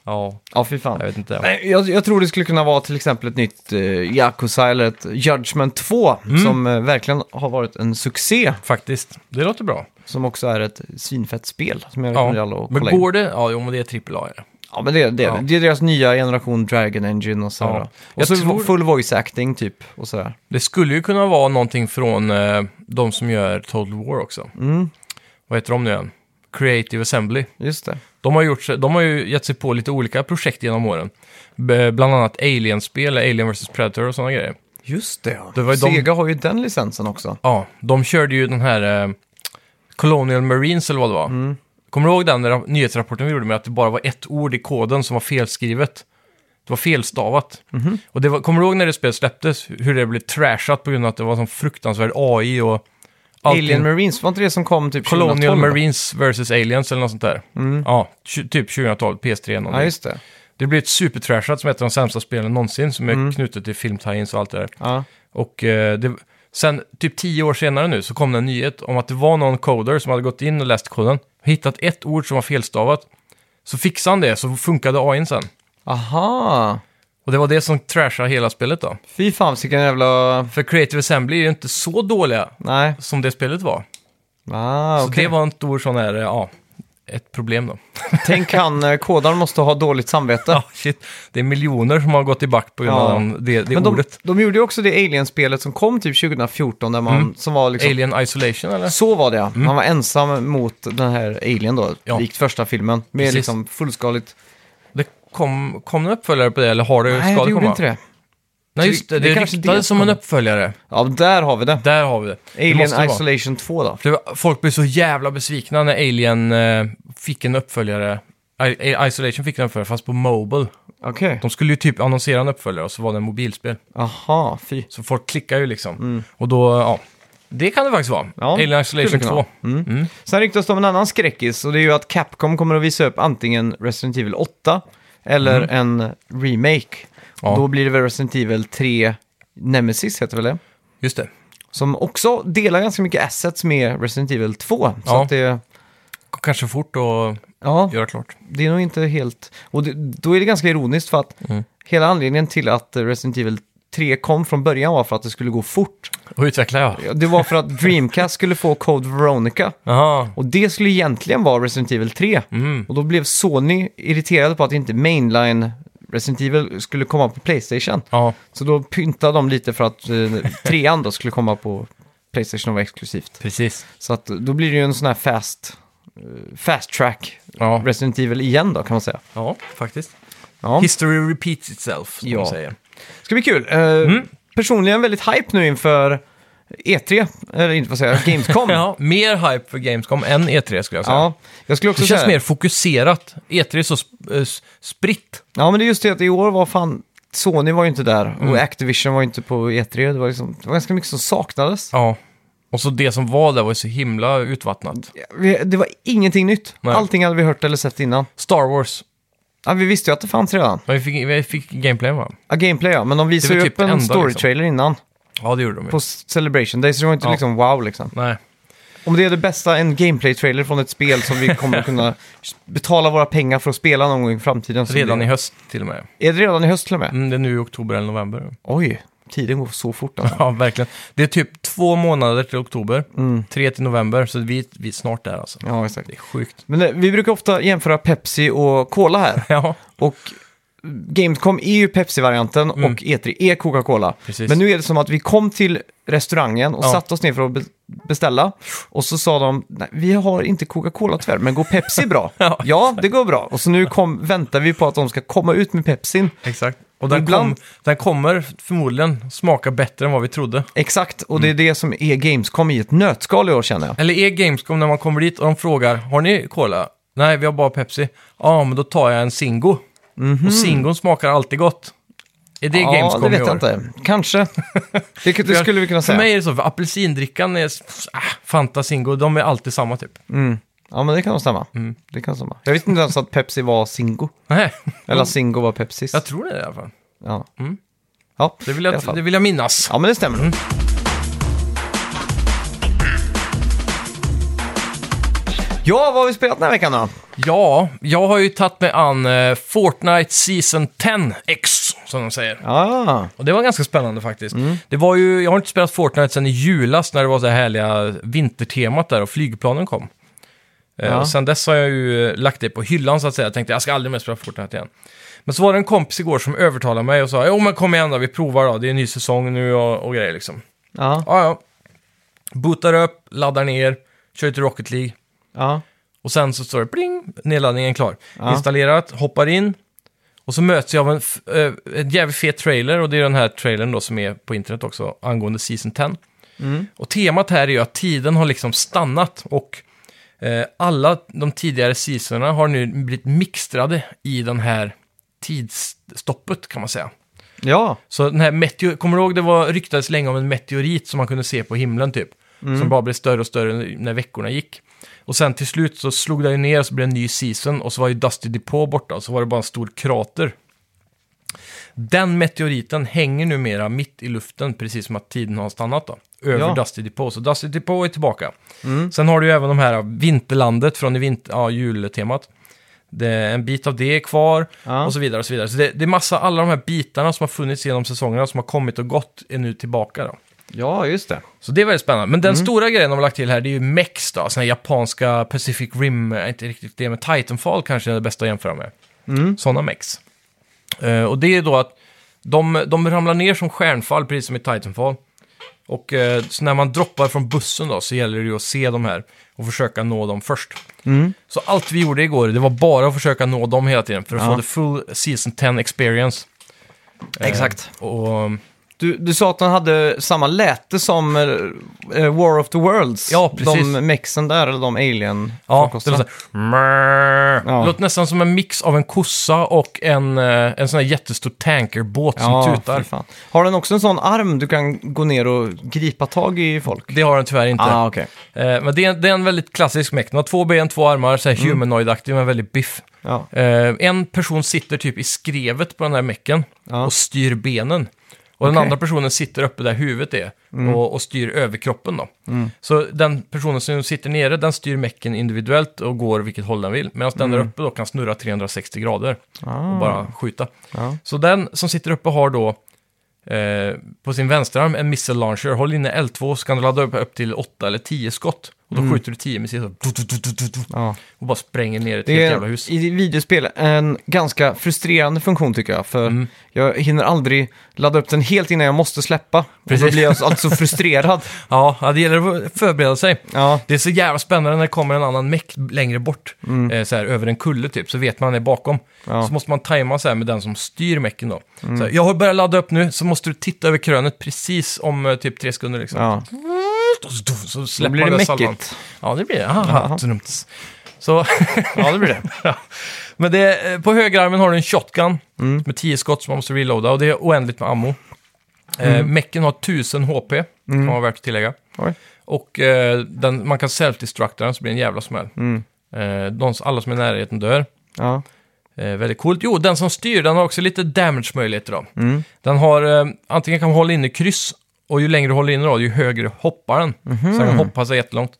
Speaker 1: ja fy fan.
Speaker 2: jag vet inte.
Speaker 1: Nej, jag, jag tror det skulle kunna vara till exempel ett nytt eh, Yakuza eller ett Judgment 2
Speaker 2: Mm.
Speaker 1: som eh, verkligen har varit en succé.
Speaker 2: Faktiskt, det låter bra.
Speaker 1: Som också är ett svinfett spel som jag rekommenderar alla
Speaker 2: Ja.
Speaker 1: att
Speaker 2: Men
Speaker 1: kolla in.
Speaker 2: går det? Ja, jo, men det är AAA. Ja.
Speaker 1: Ja, men det, det,
Speaker 2: Ja.
Speaker 1: det är deras nya generation Dragon Engine och sådär.
Speaker 2: Ja.
Speaker 1: Och
Speaker 2: Jag
Speaker 1: så
Speaker 2: tror-
Speaker 1: full voice acting typ och sådär.
Speaker 2: Det skulle ju kunna vara någonting från eh, de som gör Total War också.
Speaker 1: Mm,
Speaker 2: Vad heter de nu igen? Creative Assembly.
Speaker 1: just det.
Speaker 2: De har, gjort, sig- de har ju gett sig på lite olika projekt genom åren. B- Bland annat Alien-spel, Alien vs Predator och sådana grejer.
Speaker 1: Just det, ja.
Speaker 2: Det var ju de-
Speaker 1: Sega har ju den licensen också.
Speaker 2: Ja, de körde ju den här eh, Colonial Marines eller vad det var.
Speaker 1: Mm.
Speaker 2: Kommer du ihåg den ra- nyhetsrapporten vi gjorde med att det bara var ett ord i koden som var felskrivet? Det var felstavat.
Speaker 1: Mhm.
Speaker 2: Och det var, kommer du ihåg när det spelet släpptes? Hur det blev trashat på grund av att det var sån fruktansvärd AI och... allting?
Speaker 1: Alien Marines, var inte det som kom typ 2012?
Speaker 2: Colonial
Speaker 1: va?
Speaker 2: Marines vs. Aliens eller något sånt där. Ja, tj- typ 2012, PS3 någon.
Speaker 1: Mm. Ja, just det.
Speaker 2: Det blir ett supertrashat som är ett av de sämsta spelen någonsin som är
Speaker 1: Mm.
Speaker 2: knutet till film och allt det där.
Speaker 1: Ja.
Speaker 2: Och eh, det, sen typ tio år senare nu så kom det en nyhet om att det var någon coder som hade gått in och läst koden, hittat ett ord som var felstavat. Så fixade han det så funkade AIn sen.
Speaker 1: Aha!
Speaker 2: Och det var det som trashade hela spelet då.
Speaker 1: Fy fan, vilken jävla...
Speaker 2: För Creative Assembly är ju inte så dåliga
Speaker 1: Nej.
Speaker 2: som det spelet var.
Speaker 1: Ah,
Speaker 2: Så
Speaker 1: okej.
Speaker 2: det var en stor sån här, eh, ja, ett problem då.
Speaker 1: Tänk han, eh, kodaren måste ha dåligt samvete.
Speaker 2: Ja, shit. Det är miljoner som har gått i back på grund
Speaker 1: Ja.
Speaker 2: av den- det, det
Speaker 1: Men de,
Speaker 2: ordet.
Speaker 1: de gjorde ju också det Alien-spelet som kom typ 2014, där man,
Speaker 2: Mm.
Speaker 1: som var liksom...
Speaker 2: Alien Isolation eller?
Speaker 1: Så var det ja. Man var ensam mot den här Alien då,
Speaker 2: Mm. Ja.
Speaker 1: likt första filmen. Med
Speaker 2: Precis.
Speaker 1: liksom fullskaligt...
Speaker 2: Det kom, kom en uppföljare på det eller har det,
Speaker 1: Nej,
Speaker 2: ska
Speaker 1: det
Speaker 2: det
Speaker 1: gjorde
Speaker 2: komma?
Speaker 1: inte det.
Speaker 2: Nej, just det.
Speaker 1: Det
Speaker 2: Det,
Speaker 1: kanske det
Speaker 2: ryktades som en
Speaker 1: kommer.
Speaker 2: uppföljare.
Speaker 1: Ja, där har vi det.
Speaker 2: Där har vi det. det måste
Speaker 1: Alien
Speaker 2: det vara.
Speaker 1: Isolation 2 då.
Speaker 2: För det var- Folk blev så jävla besvikna när Alien eh, fick en uppföljare. I, I- Isolation fick en uppföljare, fast på Mobile.
Speaker 1: Okej.
Speaker 2: De skulle ju typ annonsera en uppföljare och så var det en mobilspel.
Speaker 1: Aha, fy.
Speaker 2: Så folk klickar ju liksom. Och då, ja. Det kan det faktiskt vara.
Speaker 1: Mm. Ja,
Speaker 2: Alien Isolation
Speaker 1: skulle kunna
Speaker 2: 2.
Speaker 1: vara. Mm. Sen ryktas det om en annan skräckis och det är ju att Capcom kommer att visa upp antingen Resident Evil 8 eller en remake.
Speaker 2: Mm. Ja.
Speaker 1: Då blir det väl Resident Evil 3 Nemesis heter väl det?
Speaker 2: Just det.
Speaker 1: Som också delar ganska mycket assets med Resident Evil 2. Så
Speaker 2: Ja.
Speaker 1: att det,
Speaker 2: K- Kanske fort och
Speaker 1: ja,
Speaker 2: göra klart.
Speaker 1: det är nog inte helt... Och det, då är det ganska ironiskt för att
Speaker 2: Mm.
Speaker 1: hela anledningen till att Resident Evil 3 kom från början var för att det skulle gå fort.
Speaker 2: Och utveckla, ja.
Speaker 1: Det var för att Dreamcast skulle få Code Veronica.
Speaker 2: Jaha.
Speaker 1: Och det skulle egentligen vara Resident Evil 3.
Speaker 2: Mm.
Speaker 1: Och då blev Sony irriterade på att inte mainline Resident Evil skulle komma på Playstation.
Speaker 2: Ja.
Speaker 1: Så då pyntade de lite för att eh, trean då skulle komma på Playstation och vara exklusivt.
Speaker 2: Precis.
Speaker 1: Så att då blir det ju en sån här fast, eh, fast track
Speaker 2: Ja.
Speaker 1: Resident Evil igen då kan man säga.
Speaker 2: ja, faktiskt.
Speaker 1: Ja.
Speaker 2: History repeats itself, som
Speaker 1: Ja.
Speaker 2: de säger.
Speaker 1: Ska bli kul. Eh,
Speaker 2: Mm.
Speaker 1: Personligen väldigt hype nu inför E3, eller inte vad säger jag, Gamescom.
Speaker 2: Ja, mer hype för Gamescom än E3 skulle jag säga.
Speaker 1: Ja, jag skulle också
Speaker 2: Det känns
Speaker 1: säga...
Speaker 2: mer fokuserat. E3 är så sp- eh, s- spritt.
Speaker 1: Ja, men det är just det att i år var fan... Sony var ju inte där
Speaker 2: Mm.
Speaker 1: och Activision var ju inte på E3. Det var, liksom, det var ganska mycket som saknades.
Speaker 2: Ja. Och så det som var där var ju så himla utvattnat.
Speaker 1: Vi- Det var ingenting nytt.
Speaker 2: Nej.
Speaker 1: Allting hade vi hört eller sett innan.
Speaker 2: Star Wars.
Speaker 1: Ja, vi visste ju att det fanns redan.
Speaker 2: Men vi fick, vi fick gameplay va?
Speaker 1: Ja, gameplay ja, men de visade
Speaker 2: Det
Speaker 1: ju
Speaker 2: var
Speaker 1: upp
Speaker 2: typ det
Speaker 1: en
Speaker 2: enda,
Speaker 1: story-trailer innan
Speaker 2: Ja, det gjorde de ju.
Speaker 1: på Celebration Day, så det var inte
Speaker 2: Ja.
Speaker 1: liksom wow liksom.
Speaker 2: Nej.
Speaker 1: Om det är det bästa, en gameplay-trailer från ett spel som vi kommer att kunna betala våra pengar för att spela någon gång i framtiden. så
Speaker 2: Redan i
Speaker 1: blir-
Speaker 2: höst till och med.
Speaker 1: Är det redan i höst till och med?
Speaker 2: Mm, det är nu i oktober eller november.
Speaker 1: Oj, tiden går så fort alltså.
Speaker 2: Ja, verkligen. Det är typ två månader till oktober, tre till november, så vi, vi är snart där alltså.
Speaker 1: Ja, exakt.
Speaker 2: Det är sjukt.
Speaker 1: Men eh, vi brukar ofta jämföra Pepsi och Cola här.
Speaker 2: Ja,
Speaker 1: Och Gamescom är ju Pepsi-varianten och E3 är Coca-Cola.
Speaker 2: Mm. Precis.
Speaker 1: Men nu är det som att vi kom till restaurangen och
Speaker 2: Ja.
Speaker 1: satte oss ner för att be- beställa. Och så sa de, nej, vi har inte Coca-Cola tyvärr, men går Pepsi bra? ja, det går bra. Och så nu kom, väntar vi på att de ska komma ut med Pepsin.
Speaker 2: exakt. Och den,
Speaker 1: Ibland-
Speaker 2: kom, den kommer förmodligen smaka bättre än vad vi trodde.
Speaker 1: Exakt, och det
Speaker 2: Mm.
Speaker 1: är det som är Gamescom i ett nötskal i år känner jag.
Speaker 2: Eller är Gamescom när man kommer dit och de frågar, har ni cola? Nej, vi har bara Pepsi. Ja, men då tar jag en Zingo. Och Zingon smakar alltid gott. Är det
Speaker 1: Mhm. ja,
Speaker 2: Gamescom
Speaker 1: det vet
Speaker 2: i år?
Speaker 1: jag inte. Kanske. Det, det skulle vi kunna
Speaker 2: För mig
Speaker 1: säga.
Speaker 2: är det så, för apelsindrickan är... Ah, Fanta, Zingo, de är alltid samma typ.
Speaker 1: Ja, men det kan nog stämma.
Speaker 2: Mm.
Speaker 1: Det kan stämma. Jag visste inte ens att Pepsi var Singo.
Speaker 2: Nej,
Speaker 1: Eller Singo var Pepsis.
Speaker 2: Mm. jag tror det i alla fall.
Speaker 1: Ja. ja.
Speaker 2: Det vill
Speaker 1: i alla fall.
Speaker 2: jag, det Mm. vill jag minnas.
Speaker 1: Ja, men det stämmer. Ja, vad har vi spelat den här veckan då?
Speaker 2: Ja, jag har ju tagit mig an eh, Fortnite Season 10X, som de säger.
Speaker 1: Ah,
Speaker 2: Och det var ganska spännande faktiskt. Det var ju, jag har inte spelat Fortnite sedan i julas när det var så här härliga vintertemat där och flygplanen kom. Eh,
Speaker 1: Ja.
Speaker 2: Och sen dess har jag ju eh, lagt det på hyllan så att säga. Jag tänkte jag ska aldrig mer spela Fortnite igen. Men så var det en kompis igår som övertalade mig och sa jo men kom igen då, vi provar då. Det är en ny säsong nu och, och grejer liksom.
Speaker 1: Ja,
Speaker 2: Ja, ja. Bootar upp, laddar ner, kör till Rocket League.
Speaker 1: ja.
Speaker 2: Och sen så står det pling, nedladdningen klar.
Speaker 1: Ja.
Speaker 2: Installerat, hoppar in. Och så möts jag av en, f- eh, en jävligt fet trailer och det är den här trailern då som är på internet också angående Season 10.
Speaker 1: Mm.
Speaker 2: Och temat här är ju att tiden har liksom stannat och eh, alla de tidigare seasonerna har nu blivit mixtrade i den här tidsstoppet kan man säga.
Speaker 1: Ja,
Speaker 2: Så den här meteor... Kommer du ihåg det var ryktades länge om en meteorit som man kunde se på himlen typ? Som bara blev större och större när veckorna gick. Och sen till slut så slog det ju ner och så blev det en ny season och så var ju Dusty Depot borta och så var det bara en stor krater. Den meteoriten hänger numera mitt i luften, precis som att tiden har stannat då. Över
Speaker 1: Ja.
Speaker 2: Dusty Depot, så Dusty Depot är tillbaka. Sen har du ju även de här Vinterlandet från i vinter, ja, jultemat. Det, en bit av det är kvar
Speaker 1: Ja.
Speaker 2: och så vidare. och så vidare. Så det, det är massa, alla de här bitarna som har funnits genom säsongerna som har kommit och gått är nu tillbaka. Då.
Speaker 1: ja just det.
Speaker 2: Så det är väldigt spännande. Men den
Speaker 1: Mm.
Speaker 2: stora grejen de har lagt till här det är ju Mex då, såna här japanska Pacific Rim, eh, inte riktigt det, men Titanfall kanske är det bästa att jämföra med.
Speaker 1: Mm.
Speaker 2: Sådana Mex. Eh, och det är då att de, de ramlar ner som stjärnfall, precis som i Titanfall. Och eh, så när man droppar från bussen då så gäller det ju att se de här och försöka nå dem först.
Speaker 1: Mm.
Speaker 2: Så allt vi gjorde igår, det var bara att försöka nå dem hela tiden för att
Speaker 1: Ja.
Speaker 2: få the full season 10 experience. Eh,
Speaker 1: Exakt.
Speaker 2: och,
Speaker 1: Du, du sa att den hade samma läte som eh, eh, War of the Worlds.
Speaker 2: Ja, precis.
Speaker 1: De mexen där, eller de alien
Speaker 2: ja, det
Speaker 1: farkosterna.
Speaker 2: var såhär,
Speaker 1: Ja.
Speaker 2: låter nästan som en mix av en kossa och en, eh, en sån här jättestor tankerbåt som
Speaker 1: ja,
Speaker 2: tutar.
Speaker 1: fy fan. Har den också en sån arm du kan gå ner och gripa tag i folk?
Speaker 2: Det har den tyvärr inte.
Speaker 1: ah, okej. Mm.
Speaker 2: Eh, men det är, en- det är en väldigt klassisk mech. Den har två ben, två armar, så här humanoidaktig men väldigt biff.
Speaker 1: Ja.
Speaker 2: Eh, en person sitter typ i skrevet på den här mecken
Speaker 1: Ja.
Speaker 2: och styr benen. Och den
Speaker 1: Okej. Mm.
Speaker 2: andra personen sitter uppe där huvudet är och, och styr överkroppen då. Så den personen som sitter nere, den styr mecken individuellt och går vilket håll den vill. Medan
Speaker 1: Mm.
Speaker 2: den där uppe då kan snurra 360 grader och
Speaker 1: Ah.
Speaker 2: bara skjuta.
Speaker 1: Ja.
Speaker 2: Så den som sitter uppe har då eh, på sin vänsterarm en missile launcher. Håll inne L2 så kan du ladda upp, upp till 8 eller 10 skott. Och då
Speaker 1: Mm.
Speaker 2: skjuter du 10 missiler så- du- du- du- du- du- du-
Speaker 1: Ja.
Speaker 2: och bara spränger ner ett
Speaker 1: Det
Speaker 2: helt jävla hus.
Speaker 1: är i videospel en ganska frustrerande funktion tycker jag. För
Speaker 2: Mm.
Speaker 1: jag hinner aldrig ladda upp den helt innan jag måste släppa. Och
Speaker 2: Precis.
Speaker 1: då blir jag alltså frustrerad.
Speaker 2: Ja, ja, det gäller att förbereda sig.
Speaker 1: Ja,
Speaker 2: Det är så jävla spännande när det kommer en annan meck längre bort. Eh, så här, över en kulle typ, så vet man det är bakom.
Speaker 1: Mm. Ja. Mm.
Speaker 2: Så måste man tajma så här med den som styr mecken då. Så här, jag har börjat ladda upp nu, så måste du titta över krönet precis om eh, typ tre sekunder liksom.
Speaker 1: ja.
Speaker 2: Så släpper
Speaker 1: Då blir
Speaker 2: man
Speaker 1: det
Speaker 2: den salvan.
Speaker 1: mäckigt.
Speaker 2: Ja, det blir det. Aha.
Speaker 1: Jaha.
Speaker 2: Trumts. Så,
Speaker 1: Ja, det blir det.
Speaker 2: ja. Men det, eh, på högerarmen har du en shotgun
Speaker 1: Mm.
Speaker 2: med 10 skott som man måste reloada och det är oändligt med ammo. Eh, mecken har 1000 HP, kan vara värt att tillägga.
Speaker 1: Mm. Oj.
Speaker 2: Och eh, den, man kan self-destructa den så blir det en jävla smäll.
Speaker 1: Mm.
Speaker 2: Eh, de, alla som är i närheten dör.
Speaker 1: Ja.
Speaker 2: Eh, väldigt coolt. Jo, den som styr, den har också lite damage-möjligheter då. Den har, eh, antingen kan man hålla inne kryss, och ju längre du håller inne då, ju högre hoppar den. Så den kan hoppa sig jättelångt.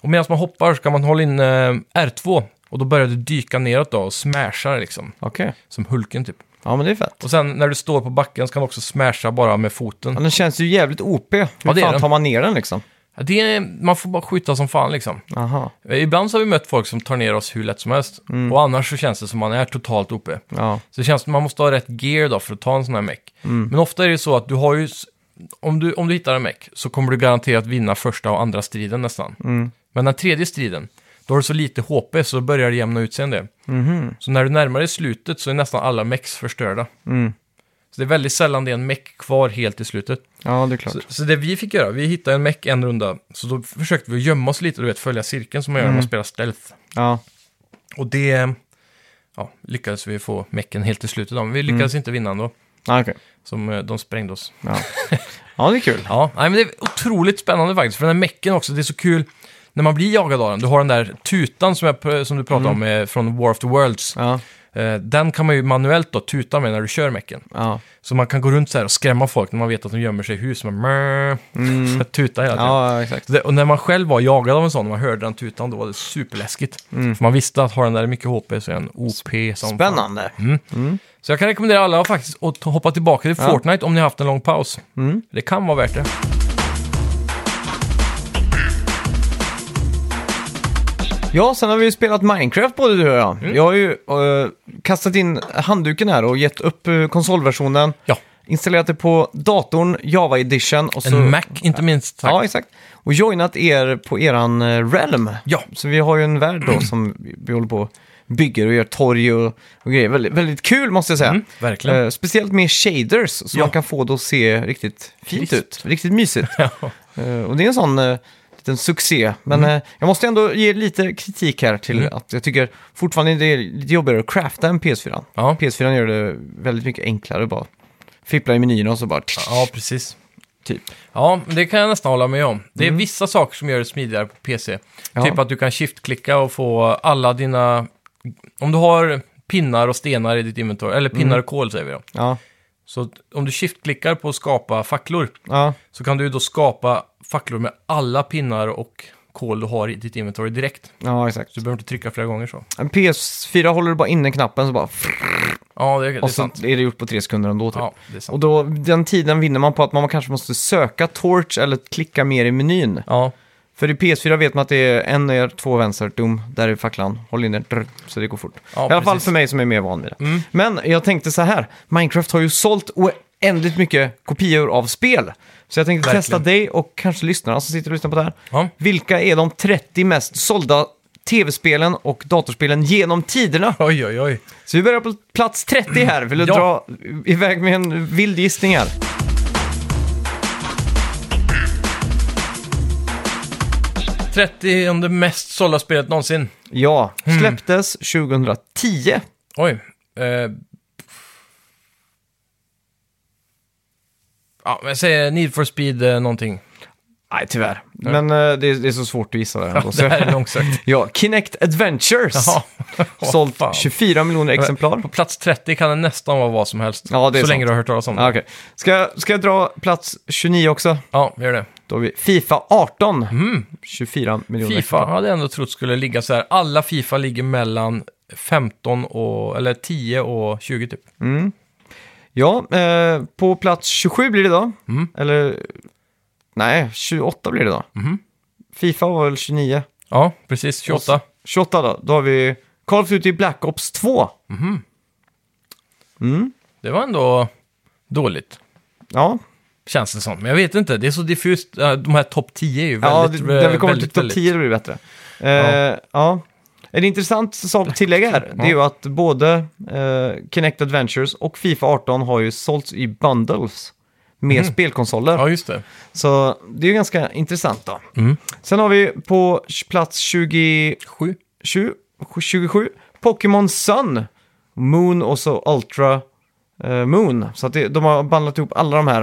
Speaker 2: Och medan man hoppar så kan man hålla in eh, R2, och då börjar du dyka neråt då och smashar liksom.
Speaker 1: Okej.
Speaker 2: Som Hulken typ.
Speaker 1: Ja, men det är fett.
Speaker 2: Och sen när du står på backen så kan du också smasha bara med foten.
Speaker 1: Ja, den känns ju jävligt OP. Hur
Speaker 2: Ja, det är
Speaker 1: fan
Speaker 2: den.
Speaker 1: tar man ner den liksom?
Speaker 2: Ja, Det är, man får bara skjuta som fan liksom.
Speaker 1: Aha.
Speaker 2: Eh, Ibland så har vi mött folk som tar ner oss hur lätt som helst. Och annars så känns det som man är totalt uppe.
Speaker 1: Ja.
Speaker 2: Så det känns som man måste ha rätt gear då för att ta en sån här mech.
Speaker 1: Mm.
Speaker 2: Men ofta är det ju så att du har ju... s- Om du, om du hittar en mech så kommer du garanterat vinna första och andra striden nästan.
Speaker 1: Mm.
Speaker 2: Men den tredje striden, då har du så lite HP så börjar det jämna ut sig en del.
Speaker 1: Mhm.
Speaker 2: Så när du närmar dig slutet så är nästan alla mechs förstörda.
Speaker 1: Mm.
Speaker 2: Så det är väldigt sällan det är en mech kvar helt i slutet.
Speaker 1: ja, det är klart.
Speaker 2: Så, så det vi fick göra, vi hittade en mech en runda, så då försökte vi gömma oss lite, du vet, följa cirkeln som man gör
Speaker 1: Mm.
Speaker 2: när man spelar stealth.
Speaker 1: Ja.
Speaker 2: Och det ja, lyckades vi få mecken helt till slutet av, men vi
Speaker 1: Mm.
Speaker 2: lyckades inte vinna ändå.
Speaker 1: Ja, okej.
Speaker 2: Som eh, de sprängde oss.
Speaker 1: Ja. ja, det är kul.
Speaker 2: Ja, nej, men det är otroligt spännande faktiskt. För den här mecken också, det är så kul när man blir jagad av den. Du har den där tutan som, jag, pr- som du pratade om eh, från War of the Worlds.
Speaker 1: Mm. Ja.
Speaker 2: Eh, den kan man ju manuellt då tuta med när du kör mecken.
Speaker 1: Ja.
Speaker 2: Så man kan gå runt så här och skrämma folk när man vet att de gömmer sig i hus. Man mm. tuta hela tiden.
Speaker 1: ja, exakt.
Speaker 2: Så Det, och när man själv var jagad av en sån och man hörde den tutan, då var det superläskigt. För man visste att har den där mycket HP så är den OP som fan.
Speaker 1: Mm. Spännande.
Speaker 2: Mm. Så jag kan rekommendera alla faktiskt att ta- hoppa tillbaka till
Speaker 1: Ja. Mm.
Speaker 2: Fortnite om ni har haft en lång paus. Det kan vara värt det.
Speaker 1: Ja, sen har vi ju spelat Minecraft både du och jag.
Speaker 2: Mm.
Speaker 1: Jag har ju eh, kastat in handduken här och gett upp eh, konsolversionen.
Speaker 2: Ja.
Speaker 1: Installerat det på datorn, Java Edition och så...
Speaker 2: En Mac, inte minst sagt.
Speaker 1: Ja, exakt. Och joinat er på eran eh, Realm.
Speaker 2: Ja.
Speaker 1: Så vi har ju en värld då som vi- vi håller på och bygger och gör torg och, och grejer. Väldigt, väldigt kul måste jag säga.
Speaker 2: Mm, verkligen.
Speaker 1: Eh, speciellt med shaders så
Speaker 2: Ja.
Speaker 1: man kan få det att se riktigt fint
Speaker 2: Krisp.
Speaker 1: ut. Riktigt mysigt.
Speaker 2: Ja.
Speaker 1: Eh, och det är en sån eh, liten succé. Men eh, jag måste ändå ge lite kritik här till
Speaker 2: Mm.
Speaker 1: att jag tycker fortfarande det är lite jobbigare att crafta än PS4.
Speaker 2: Ja.
Speaker 1: PS4 gör det väldigt mycket enklare att bara fippla i menyerna och så bara...
Speaker 2: ja, precis.
Speaker 1: Typ.
Speaker 2: Ja, men det kan jag nästan hålla med om. Det är vissa saker som gör det smidigare på PC.
Speaker 1: Mm. Ja.
Speaker 2: Typ att du kan shift-klicka och få alla dina... Om du har pinnar och stenar i ditt inventory, eller
Speaker 1: Mm.
Speaker 2: pinnar och kol säger vi då.
Speaker 1: Ja.
Speaker 2: Så att om du shift-klickar på skapa facklor
Speaker 1: ja.
Speaker 2: så kan du då skapa facklor med alla pinnar och kol du har i ditt inventory direkt.
Speaker 1: Ja, exakt.
Speaker 2: Så du behöver inte trycka flera gånger så.
Speaker 1: En PS4 håller du bara inne knappen så bara...
Speaker 2: Ja, det, det är
Speaker 1: Och så
Speaker 2: sant.
Speaker 1: är det gjort på tre sekunder ändå typ.
Speaker 2: Ja, det är sant.
Speaker 1: Och då, den tiden vinner man på att man kanske måste söka torch eller klicka mer i menyn.
Speaker 2: Ja,
Speaker 1: För i PS4 vet man att det är en ner, två vänster, dum, där är facklan, håll in den, drr, så det går fort.
Speaker 2: Ja,
Speaker 1: I alla fall
Speaker 2: precis. Mm.
Speaker 1: för mig som är mer van vid det. Men jag tänkte så här, Minecraft har ju sålt oändligt mycket kopior av spel. Så jag tänkte
Speaker 2: Verkligen.
Speaker 1: testa dig och kanske lyssnarna som sitter och lyssnar på det här.
Speaker 2: Ja.
Speaker 1: Vilka är de 30 mest sålda tv-spelen och datorspelen genom tiderna?
Speaker 2: oj, oj, oj.
Speaker 1: Så vi börjar på plats 30 här. Vill du
Speaker 2: Ja.
Speaker 1: dra iväg med en vild gissning här?
Speaker 2: det mest sålda spelet någonsin.
Speaker 1: Ja,
Speaker 2: Mm.
Speaker 1: släpptes 2010.
Speaker 2: Oj. Eh, ja, men jag säger Need for Speed eh, någonting.
Speaker 1: Nej, tyvärr. Men eh, det, är, det är så svårt att gissa där ändå.
Speaker 2: Det
Speaker 1: Så.
Speaker 2: här är långsökt.
Speaker 1: Ja, Kinect Adventures.
Speaker 2: Jaha.
Speaker 1: Sålt
Speaker 2: Fan.
Speaker 1: 24 miljoner exemplar.
Speaker 2: På plats 30 kan det nästan vara vad som helst.
Speaker 1: Ja, det är
Speaker 2: så länge
Speaker 1: sant.
Speaker 2: du har hört talas om det.
Speaker 1: Ah, okay. ska, ska jag dra plats 29 också?
Speaker 2: Ja, gör det.
Speaker 1: Då har vi Fifa 18.
Speaker 2: Mm.
Speaker 1: 24 miljoner.
Speaker 2: Fifa hade jag ändå trott skulle ligga så här. Alla Fifa ligger mellan 15 och, eller 10 och 20 typ.
Speaker 1: Ja, eh, på plats 27 blir det då.
Speaker 2: Mm.
Speaker 1: Eller, nej, 28 blir det då.
Speaker 2: Mm-hmm.
Speaker 1: Fifa var väl 29.
Speaker 2: Ja, precis. 28.
Speaker 1: 28 då. Då har vi Call of Duty Black Ops 2.
Speaker 2: Mm-hmm. Det var ändå dåligt.
Speaker 1: Ja,
Speaker 2: Känns det som. Men jag vet inte, det är så diffust. Eh, De här topp 10 är ju
Speaker 1: ja
Speaker 2: väldigt...
Speaker 1: det, när vi
Speaker 2: eh,
Speaker 1: kommer till
Speaker 2: väldigt,
Speaker 1: topp
Speaker 2: väldigt-
Speaker 1: 10 blir det bättre. Eh, ja. En intressant sak att tillägga här, det är ju att både eh, Kinect Adventures och Fifa 18 har ju sålts i bundles med spelkonsoler.
Speaker 2: Mhm. Ja, just det.
Speaker 1: Så det är ju ganska intressant då.
Speaker 2: Mm.
Speaker 1: Sen har vi på plats 20,
Speaker 2: 7.
Speaker 1: 20, 27 Pokémon Sun, Moon och så Ultra eh, Moon. Så att det, de har bundlat ihop alla de
Speaker 2: Mm.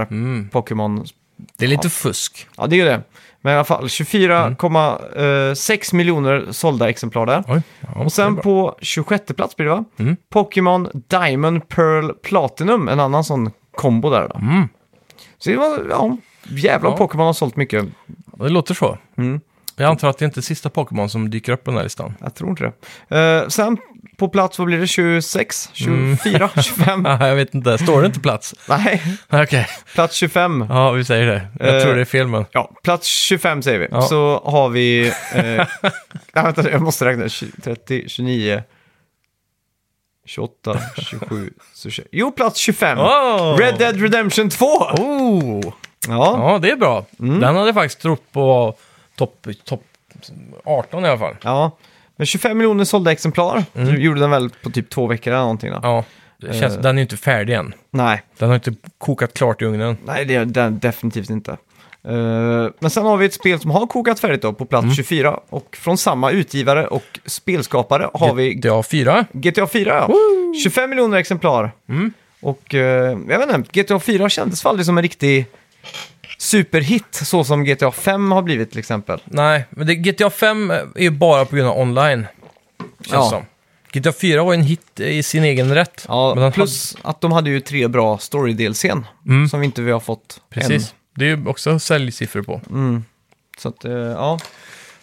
Speaker 1: här Pokémon.
Speaker 2: Det är lite fusk.
Speaker 1: Ja, det är ju det. Men i alla fall Mm. 24,6 miljoner sålda exemplar där.
Speaker 2: Oj. Ja,
Speaker 1: Och sen på 26 plats blir det va? Pokémon Diamond Pearl Platinum, en annan sån kombo där då. Så det var, Mm. ja, jävla
Speaker 2: Ja.
Speaker 1: Pokémon har sålt mycket.
Speaker 2: det låter så.
Speaker 1: Mm.
Speaker 2: Jag antar att det inte är sista Pokémon som dyker upp på den här listan.
Speaker 1: Jag tror inte det. Eh, sen på plats, vad blir det, 26, 24, 25?
Speaker 2: Ah, jag vet inte, står det inte plats?
Speaker 1: Nej,
Speaker 2: Okej,
Speaker 1: plats 25.
Speaker 2: ja vi säger det. Jag
Speaker 1: Eh.
Speaker 2: tror det är fel men.
Speaker 1: Ja, plats 25 säger vi.
Speaker 2: Ja.
Speaker 1: Så har vi... Eh, nej, vänta, jag måste räkna. 20, 30, 29, 28, 27, 26. Jo, plats 25.
Speaker 2: Oh!
Speaker 1: Red Dead Redemption 2!
Speaker 2: Oh!
Speaker 1: Ja.
Speaker 2: Ja, det är bra.
Speaker 1: Mm.
Speaker 2: Den hade jag faktiskt trott på topp top 18 i alla fall.
Speaker 1: ja. Men 25 miljoner sålda exemplar. Du gjorde den väl på typ två veckor eller någonting då?
Speaker 2: Mm. Ja, det känns,
Speaker 1: Eh.
Speaker 2: den är ju inte färdig än.
Speaker 1: Nej.
Speaker 2: Den har inte kokat klart i ugnen.
Speaker 1: Nej, det är den definitivt inte. Eh, men sen har vi ett spel som har kokat färdigt då på plats
Speaker 2: Mm.
Speaker 1: 24 och från samma utgivare och spelskapare har vi
Speaker 2: GTA 4.
Speaker 1: GTA 4. Ja. 25 miljoner exemplar.
Speaker 2: Mm.
Speaker 1: Och eh, jag vet inte, GTA 4 kändes aldrig som en riktig superhit så som GTA 5 har blivit till exempel.
Speaker 2: Nej, men det, GTA 5 är ju bara på grund av online. Känns
Speaker 1: Ja.
Speaker 2: som. GTA 4 var ju en hit i sin egen rätt. men
Speaker 1: Ja,
Speaker 2: den
Speaker 1: plus att de hade ju tre bra story-delscen som vi inte vi har fått
Speaker 2: hade- precis. Det är ju också säljsiffror på.
Speaker 1: Mm. Så att, eh, ja,